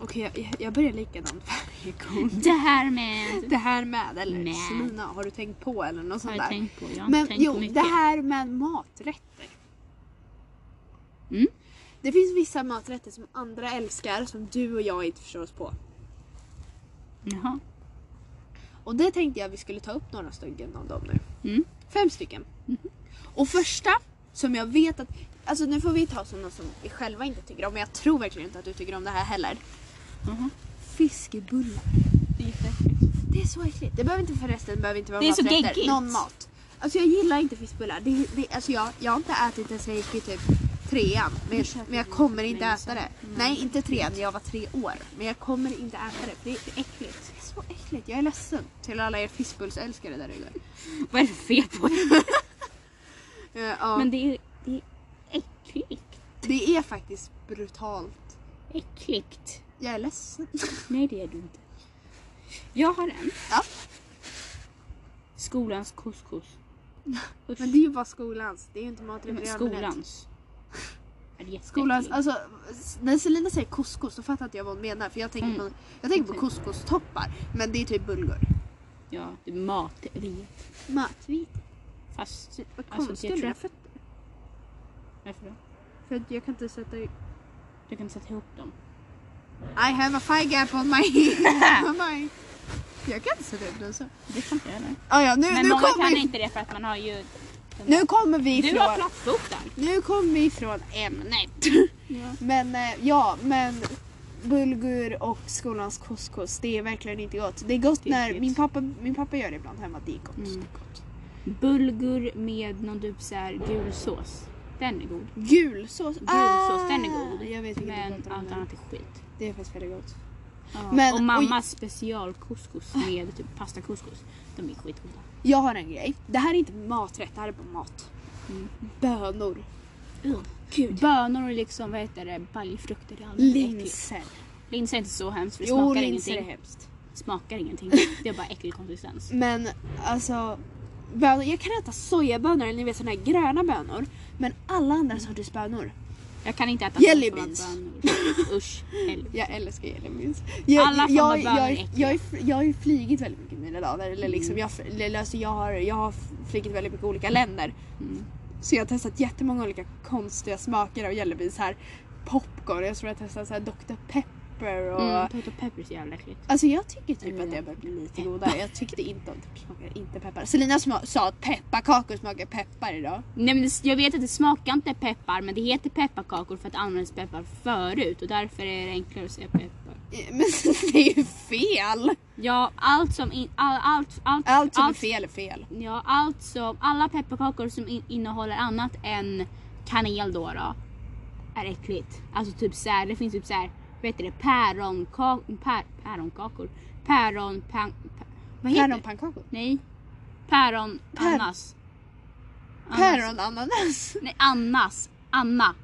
Okej, jag, jag börjar likadant [laughs] varje gång.
Det här med...
Det här med, eller
Med.
Sina, har du tänkt på eller något
Har
sånt
jag
där?
tänkt på? Jag har
Men
tänkt
jo,
på mycket.
det här med maträtter.
Mm.
Det finns vissa maträtter som andra älskar som du och jag inte förstår oss på.
Jaha.
Och det tänkte jag vi skulle ta upp några stycken av dem nu.
Mm.
Fem stycken. Mhm. Och första som jag vet att... Alltså nu får vi ta sådana som vi själva inte tycker om. Men jag tror verkligen inte att du tycker om det här heller.
Mhm.
Fiskebullar. Det är så äckligt. Det behöver inte förresten behöver inte vara
Det är så
maträtter.
geggigt.
Någon mat. Alltså jag gillar inte fiskbullar. Det, det, alltså jag, jag har inte ätit det sen jag gick i typ trean. Men jag, men jag kommer inte äta det.
Mm.
Nej, inte trean. Jag var tre år. Men jag kommer inte äta det. för Det är det är äckligt. Det är så äckligt. Jag är ledsen till alla er fiskbullsälskare där ute.
Vad är det för fel på det?
Eh, ja.
Men det är, det är äckligt.
Det är faktiskt brutalt.
Äckligt.
Jag är ledsen.
Nej, det är du inte. Jag har en.
Ja.
Skolans couscous. Usch.
Men det är ju bara skolans. Det är ju inte maträtter i allmänhet.
Skolans. [laughs] Är det
Skolans.
jätteäckligt?
Alltså, s- när Selina säger couscous då fattar inte jag vad hon menar. För jag tänker
Mm.
på, jag tänker på
Okej.
couscous-toppar. Men det är typ bulgur.
Ja, det är matret.
Matvit.
Fast...
Vad
alltså,
konstigt.
det tror jag-
jag för,
Varför då?
för att jag kan inte sätta i...
Du kan sätta ihop dem.
I have a fire gap on my...
[laughs]
on my... Jag kan inte sätta upp den så.
Det kan inte jag heller.
Ah, ja, nu,
Men
nu,
många
kommer
kan
vi,
inte det för att man har ju...
nu kommer vi
Du har
ifrån...
plattfoten.
Nu kommer vi ifrån ämnet. [laughs]
Ja.
Men eh, ja, men bulgur och skolans couscous, det är verkligen inte gott. Det är gott
Det är
när
äckligt.
min pappa, min pappa gör det ibland hemma, det är gott.
Mm.
Det är gott.
Bulgur med någon typ så här gul sås. Den är god.
Gul sås,
Gul sås, den är god.
Ah! Jag vet inte
Men
men,
allt annat är skit.
Det är faktiskt väldigt gott.
Ja.
Men-
och mammas special
[laughs]
couscous med typ pasta couscous. De är skitgoda.
Jag har en grej. Det här är inte maträtt, det här är bara mat.
Mm.
Bönor,
Gud. Bönor och liksom vad heter det, baljfrukter. Det är allmänt äckligt.
linser.
Linser är inte så hemskt för det
Jo,
smakar
linser är
ingenting.
hemskt.
Smakar ingenting. Det är bara äcklig konsistens.
Men alltså, bönor, jag kan äta sojabönor, eller ni vet sådana här gröna bönor. Men alla andra sorters bönor.
Jag kan inte äta
Jelly
sånt
beans.
som bönor. Usch. helvete.
Jag älskar Jellybeans. Jag,
Alla
jag,
former
jag,
bönor är
jag,
äckliga.
jag, har ju fl- jag har ju flygit väldigt mycket mina dagar. Eller liksom,
Mm.
jag, fl- eller alltså jag, har, jag har flygit väldigt mycket olika länder.
Mm.
Så jag har testat jättemånga olika konstiga smaker av Jellybeans här. Popcorn, jag tror jag har testat så här Dr. Pepper och...
Mm, Toto peppers är så jävla äckligt.
Alltså jag tycker typ
Mm.
att det börjar bli lite godare. Jag tyckte inte om det smakade inte peppar. Selina sma- sa att pepparkakor smakar peppar idag.
Nej, men det- jag vet att det smakar inte peppar men det heter pepparkakor för att det användes peppar förut och därför är det enklare att säga peppar.
Eh, [laughs] Men det är ju fel!
Ja, allt som... In, all, allt, allt,
Allt som är fel är fel.
Ja, alltså, allt som... Alla pepparkakor som in, innehåller annat än kanel då, då är äckligt. Alltså typ så här, det finns typ så här, vad heter det, päronkakor, pär, päronkakor, päron, pan, pa, vad heter det?
Päronpannkakor?
Nej, päron,
Pär-
annas. Annas.
Päronananas?
Nej, annas, Anna,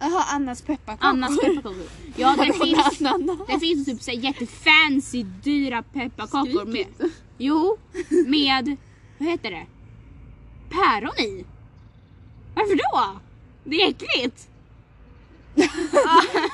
Jaha, Annas pepparkakor. [laughs]
Annas pepparkakor. Ja, det finns,
Ananas.
det finns typ så här jättefancy, dyra pepparkakor med,
Skrik
jo, med, vad heter det, päron i. Varför då? Det är äckligt.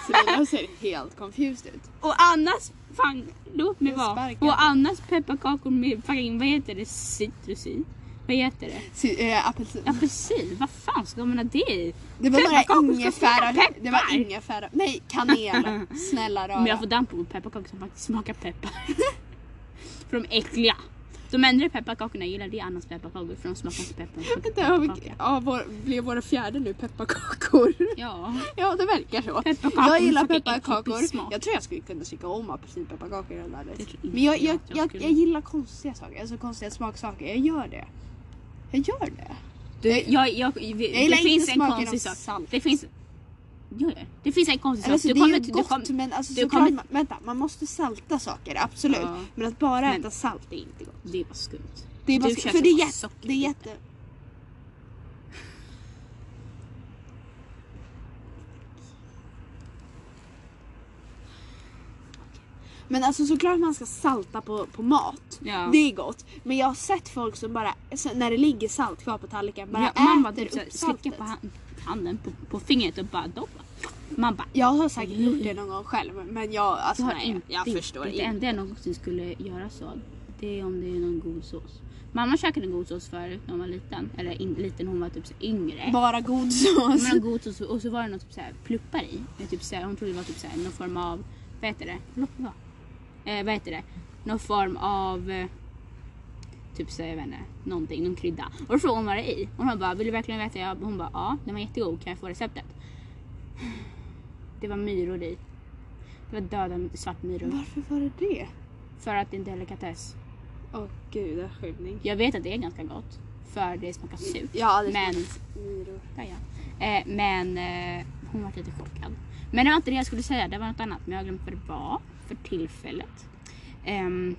Frida ser helt confused ut.
Och Annas, fan, låt mig
Jag
vara.
sparkar.
Och Annas pepparkakor med fucking, vad heter det, citrus i? Vad heter det?
Si- eh, apelsin.
Apelsin? Vad fan ska man ha det i?
Det var några
Pepparkakor ska
ingefära...
smaka peppar.
Det var ingefära... Nej, kanel. Snälla rara.
Men jag får damp på pepparkakor som faktiskt smakar peppar. [laughs] för de är äckliga. De enda pepparkakorna jag gillar det är Annas pepparkakor för de smakar inte peppar. de smakar
Vänta, har vi...
pepparkaka.
ja, vår... blev våra fjärde nu pepparkakor?
Ja,
[laughs] ja, det verkar så.
pepparkakor
Jag gillar
med fucking äcklig
pepparkakor.
pissmak.
Jag tror jag skulle kunna tycka om apelsinpepparkakor helt
Det
ärligt.
tror inte
Men jag,
jag
jag,
att jag
jag,
skulle.
jag gillar konstiga saker, alltså konstiga smaksaker. Jag gör det. Jag gör det.
Du, jag, jag, vi-
Jag gillar
det finns
inte
en
smaken
konstig
av
sak.
salt.
Det finns... Jo, jo. det finns en konstig sak.
Alltså,
du
det är
kommer,
ju
till-
gott
du kommer,
men alltså,
du
såklart,
kommer-
man, vänta, man måste salta saker, absolut.
Ja.
Men att bara
Men-
äta salt
Det är inte gott. Det är bara skumt.
Det är typ bara,
Du
sk-
köper
för det är,
bara
jätte,
socker.
det är jätte... Men alltså såklart man ska salta på, på mat.
Ja.
Det är gott. Men jag har sett folk som bara, så- när det ligger salt kvar på tallriken, bara
ja, man bara
äter
typ såhär,
upp saltet.
slickar på hand, handen, på, på fingret och bara då. Man bara,
Jag har säkert gjort det någon gång själv men jag, alltså,
Mm. jag har
nej,
inte,
jag förstår
inte. Det
inte.
enda jag någonsin skulle göra så, det är om det är någon god sås. Mamma käkade en god sås förut när hon var liten. Eller in, liten, hon var typ så yngre.
Bara god sås.
Men en god sås och så var det något typ såhär pluppar i. Det Typ såhär, hon trodde det var typ såhär, någon form av, vad heter det? Låt mig vara. Eh, vad heter det? Någon form av eh, typ såhär, jag vet inte, någonting, någon krydda. Och då frågade hon vad det är i. Och hon bara, vill du verkligen veta? Jag, hon bara, ja den var jättegod, kan jag få receptet? Det var myror i. Det var döda svartmyror.
Varför var det det?
För att det är en delikatess.
Åh gud, avskyvning.
Jag vet att det är ganska gott. För det smakar surt.
Ja, det
Men-
myror.
Ja, ja. Eh, men eh, hon var lite chockad. Men det var inte det jag skulle säga, det var något annat. Men jag har glömt vad det var för tillfället. Ehm,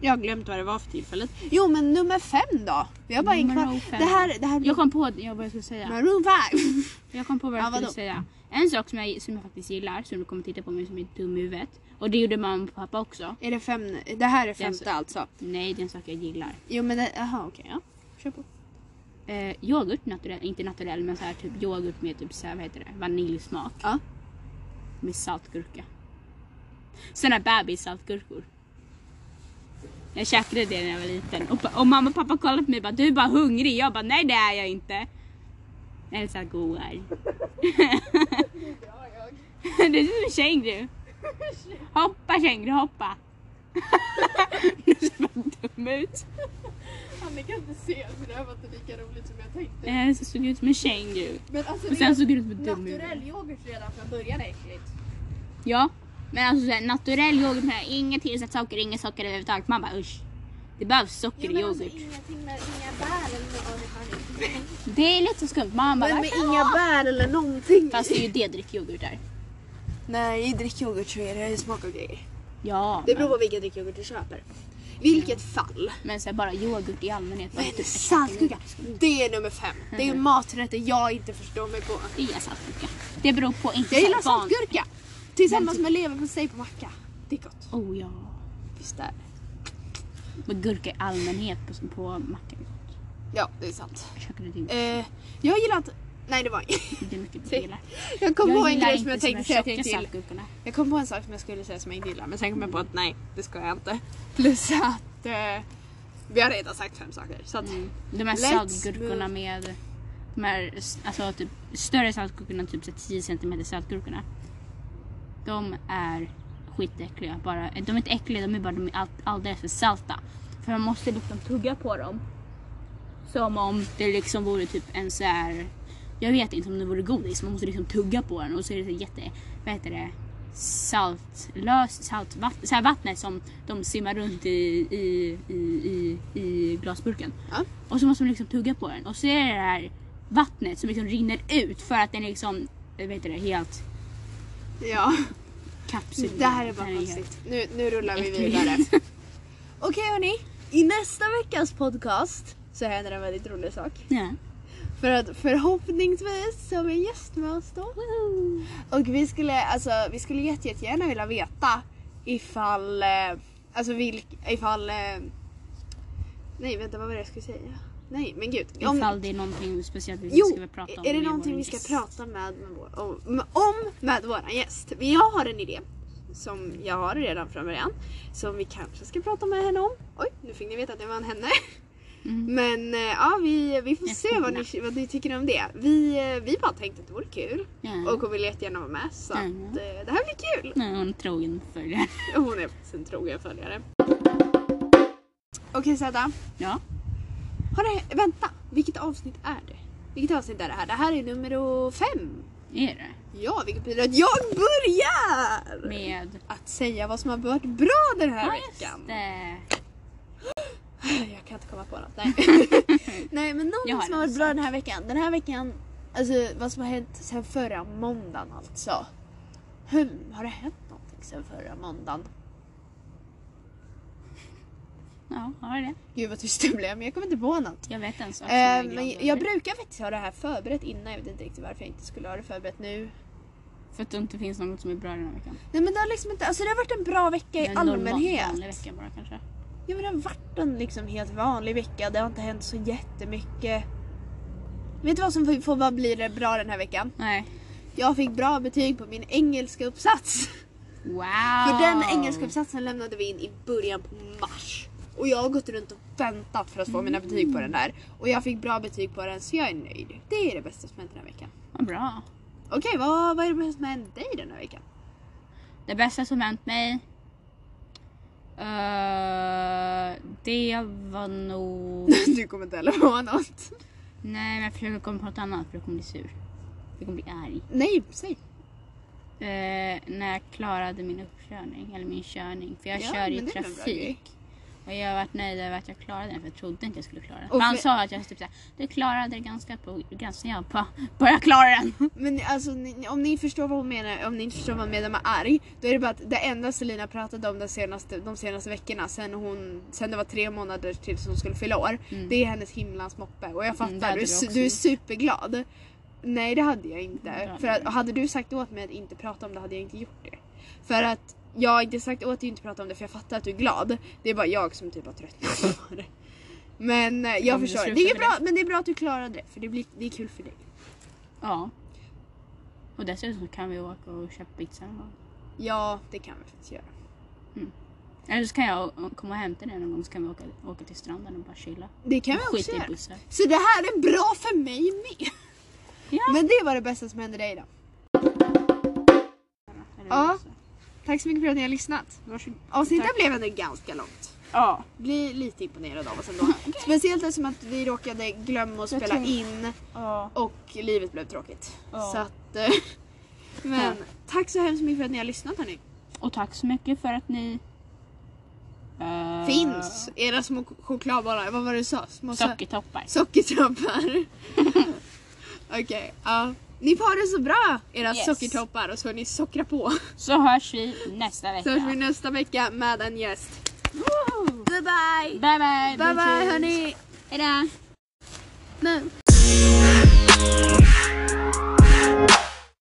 Jag har glömt vad det var för tillfället. Jo men nummer fem då. Vi har bara en
Nummer
kvar.
fem.
Det här, det här
jag kom på jag, vad jag skulle säga.
Maroon 5.
Jag kom på vad
Ja,
jag skulle
vadå?
säga. En sak som jag, som jag faktiskt gillar, som du kommer titta på mig som är dum i huvudet. Och det gjorde mamma och pappa också.
[laughs] Är det fem? Det här är femte
Den-
alltså.
Nej, det är en sak jag gillar.
Jo men det- jaha okej ja. Kör på.
Eh, yoghurt, naturell, inte naturell men så här, typ yoghurt med typ så här, vad heter det, vaniljsmak.
Ja.
Med saltgurka. Såna bebissaltgurkor. Jag käkade det när jag var liten och, pa- och mamma och pappa kollade på mig och bara du är bara hungrig. Jag bara nej det är jag inte. Jag är så här god här. [laughs] du är som en känguru. Hoppa känguru hoppa. [laughs] du ser bara dum ut.
Ni kan inte se för det här var inte lika roligt som jag tänkte.
Eh, så såg jag ut som en känguru.
Men alltså
Och sen såg jag ut som en dum huvud.
yoghurt redan från början är äckligt.
Ja, men alltså såhär, naturell yoghurt med inget tillsatt socker, inget socker överhuvudtaget. Man bara usch. Det behövs socker i
alltså,
yoghurt.
ingenting med inga bär eller någonting.
Det är lite skumt. Man bara
Men med
varför?
inga bär eller någonting.
Fast det är ju det drickyoghurt är.
Nej, drick yoghurt så är det smak och grejer.
Ja,
Det beror
men,
på vilken drickyoghurt du köper. Vilket fall.
men så här, bara yoghurt i allmänhet. var
Men
typ-
saltgurka, det är nummer fem. Det är maträtter jag inte förstår mig på.
Det är saltgurka. Det beror på inte
Jag gillar
så här van-
saltgurka! Tillsammans med leverpastej på macka. Det är gott.
Oh ja.
Visst är det?
Men gurka i allmänhet på, på mackan. är gott.
Ja, det är sant.
Jag käkade det.
Eh, jag gillar inte... Nej, det var inget.
Det är mycket
se.
jag gillar.
[laughs] Jag kom på
Jag
en
gillar
grej som
inte
jag
såna
tänkte säga att jag
tjocka
inte gillar.
saltgurkorna.
Jag kom på en sak som jag skulle säga som jag inte gillar, men sen kom jag på att nej, det ska jag inte. Plus att eh, Mm. vi har redan sagt fem saker. Så att,
De
Let's
här saltgurkorna
move.
med de här, s- alltså typ större saltgurkorna, typ så här 10 cm saltgurkorna. De är skitäckliga. Bara, de är inte äckliga, de är bara de är all, alldeles för salta. För man måste liksom tugga på dem. Som om det liksom vore typ en så här. Jag vet inte om det vore godis, man måste liksom tugga på den och så är det så jätte, vad heter det, saltlöst saltvatten, så här vattnet som de simmar runt i, i, i, i, i glasburken.
Ja.
Och så måste man liksom tugga på den och så är det det här vattnet som liksom rinner ut för att den liksom eh, vad heter det, helt
Ja,
kapsel.
det här är bara konstigt. Nu, nu rullar vi vidare. [laughs] Okej hörni, i nästa veckas podcast så händer en väldigt rolig sak.
Ja.
För att förhoppningsvis så har vi en gäst med oss då. Och vi skulle, alltså, vi skulle jätte, jättegärna vilja veta ifall, eh, alltså vilk, ifall, eh, nej vänta vad var det jag skulle säga? Nej men gud. Om-
Ifall det är någonting speciellt vi
Jo,
ska väl prata om.
är det
med
någonting
vår
vi ska
gäst.
prata med, med vår, om, med- om med våran gäst? Men jag har en idé som jag har redan från början som vi kanske ska prata med henne om. Oj, nu fick ni veta att det var en henne. [laughs]
Mm.
Men eh, ja, vi, vi får
Jag
se vad ni, vad ni tycker om det. Vi, eh, vi bara tänkte att det vore kul
Ja.
och hon vill jättegärna vara med så att,
Mm.
eh, det här blir
[laughs]
kul.
Nej, hon är trogen följare. [laughs]
Och Hon är faktiskt en trogen följare. Okej Zäta,
Ja.
har det, vänta, vilket avsnitt är det? Vilket avsnitt är det här? Det här är nummer fem.
Är det?
Ja, vilket betyder att jag börjar!
Med...
Att säga vad som har varit bra den här
Ja, just
veckan.
det.
Jag kan inte komma på något.
[laughs]
Nej, Nej men
Jag
någonting
har
som har varit
en
bra
sak.
den här veckan. Den här veckan, alltså vad som har hänt sen förra måndagen alltså. Hmm, har det hänt någonting sen förra måndagen?
Ja, har det.
Gud vad tyst jag blev, men jag kommer inte på något.
Jag vet en sak som jag är
Eh,
glad
men
över.
jag brukar faktiskt ha det här förberett innan. Jag vet inte riktigt varför jag inte skulle ha det förberett nu.
För att det inte finns något som är bra den här veckan.
Nej men det har liksom inte, alltså det har varit en bra vecka i
En normal-
allmänhet.
vanlig vecka bara kanske.
Ja men det har varit en liksom helt vanlig vecka. Det har inte hänt så jättemycket. Vet du vad som får- får vad blir det bra den här veckan?
Nej.
Jag fick bra betyg på min engelska uppsats.
Wow!
För den
Ah.
engelska uppsatsen lämnade vi in i början på mars. Och jag har gått runt och väntat för att få mina betyg på den där. Och jag fick bra betyg på den så jag är nöjd. Det är det bästa som hänt den här veckan.
Vad bra.
Okej, vad, vad är det bästa som har hänt dig den här veckan? [laughs]
Det bästa som hänt mig... eh, det var nog...
du kommer inte heller få något.
Nej, men jag försöker komma på något annat för jag kommer bli sur. Jag kommer bli arg.
Nej, säg.
Eh, när jag klarade min uppkörning, eller min körning. För jag
Ja,
kör
men
i
det är väl en bra grej.
trafik. Och jag har varit nöjd över att jag klarade den för jag trodde inte jag skulle klara den.
Och
För han
för-
sa att jag typ såhär, du klarade det ganska på gränsen. Jag bara, bara jag klarar den! [laughs]
Men alltså, ni, om ni förstår vad hon menar, om ni inte förstår vad hon menar med arg, då är det bara att det enda Selina pratade om de senaste, de senaste veckorna, sen, hon, sen det var tre månader tills hon skulle fylla år,
Mm.
det är hennes himlans moppe. Och jag fattar,
det hade
du, är
du
su-
också. Mm,
du är superglad. Nej det hade jag inte.
Det hade
För att,
du.
hade du sagt åt mig att inte prata om det hade jag inte gjort det. För att jag har inte sagt åt dig att inte prata om det för jag fattar att du är glad. Det är bara jag som typ har tröttnat på det. Men eh, jag
Om du
förstår. Det
slutar
är
med
bra, men det är bra att du klarade det för det, blir, det är kul för dig.
Ja. Och dessutom kan vi åka och köpa pizza någon gång.
Ja, det kan vi faktiskt göra.
Eller så kan jag å- komma och hämta den någon gång så kan vi åka, åka till stranden och bara chilla.
Det kan vi
Skit
också
i
göra.
bussar.
Så det här är bra för mig med. [laughs]
Ja.
Men det var det bästa som hände dig då.
Eller
Ja.
bussar.
Tack så mycket för att ni har lyssnat.
Varsågod.
Avsnittet blev ändå ganska långt.
Ja.
Bli lite imponerad av oss
[laughs]
ändå. Speciellt eftersom att vi råkade glömma att
Jag
spela
tror-
in
ja.
och livet blev tråkigt.
Ja.
Så att... eh, [laughs] Men tack så hemskt mycket för att ni har lyssnat hörni.
Och tack så mycket för att ni... eh,
Finns era små ch- chokladbollar, vad var det du sa? Små sö-
Sockertoppar. [laughs]
Sockertoppar. Okej, ja. Ni får ha det så bra era
Yes.
sockertoppar och så ni sockra
[laughs]
på.
Så hörs vi nästa
Så
vecka.
hörs vi nästa vecka med en gäst. Goodbye!
Bye bye!
Bye bye
bitches.
hörni!
Hejdå!
Nu.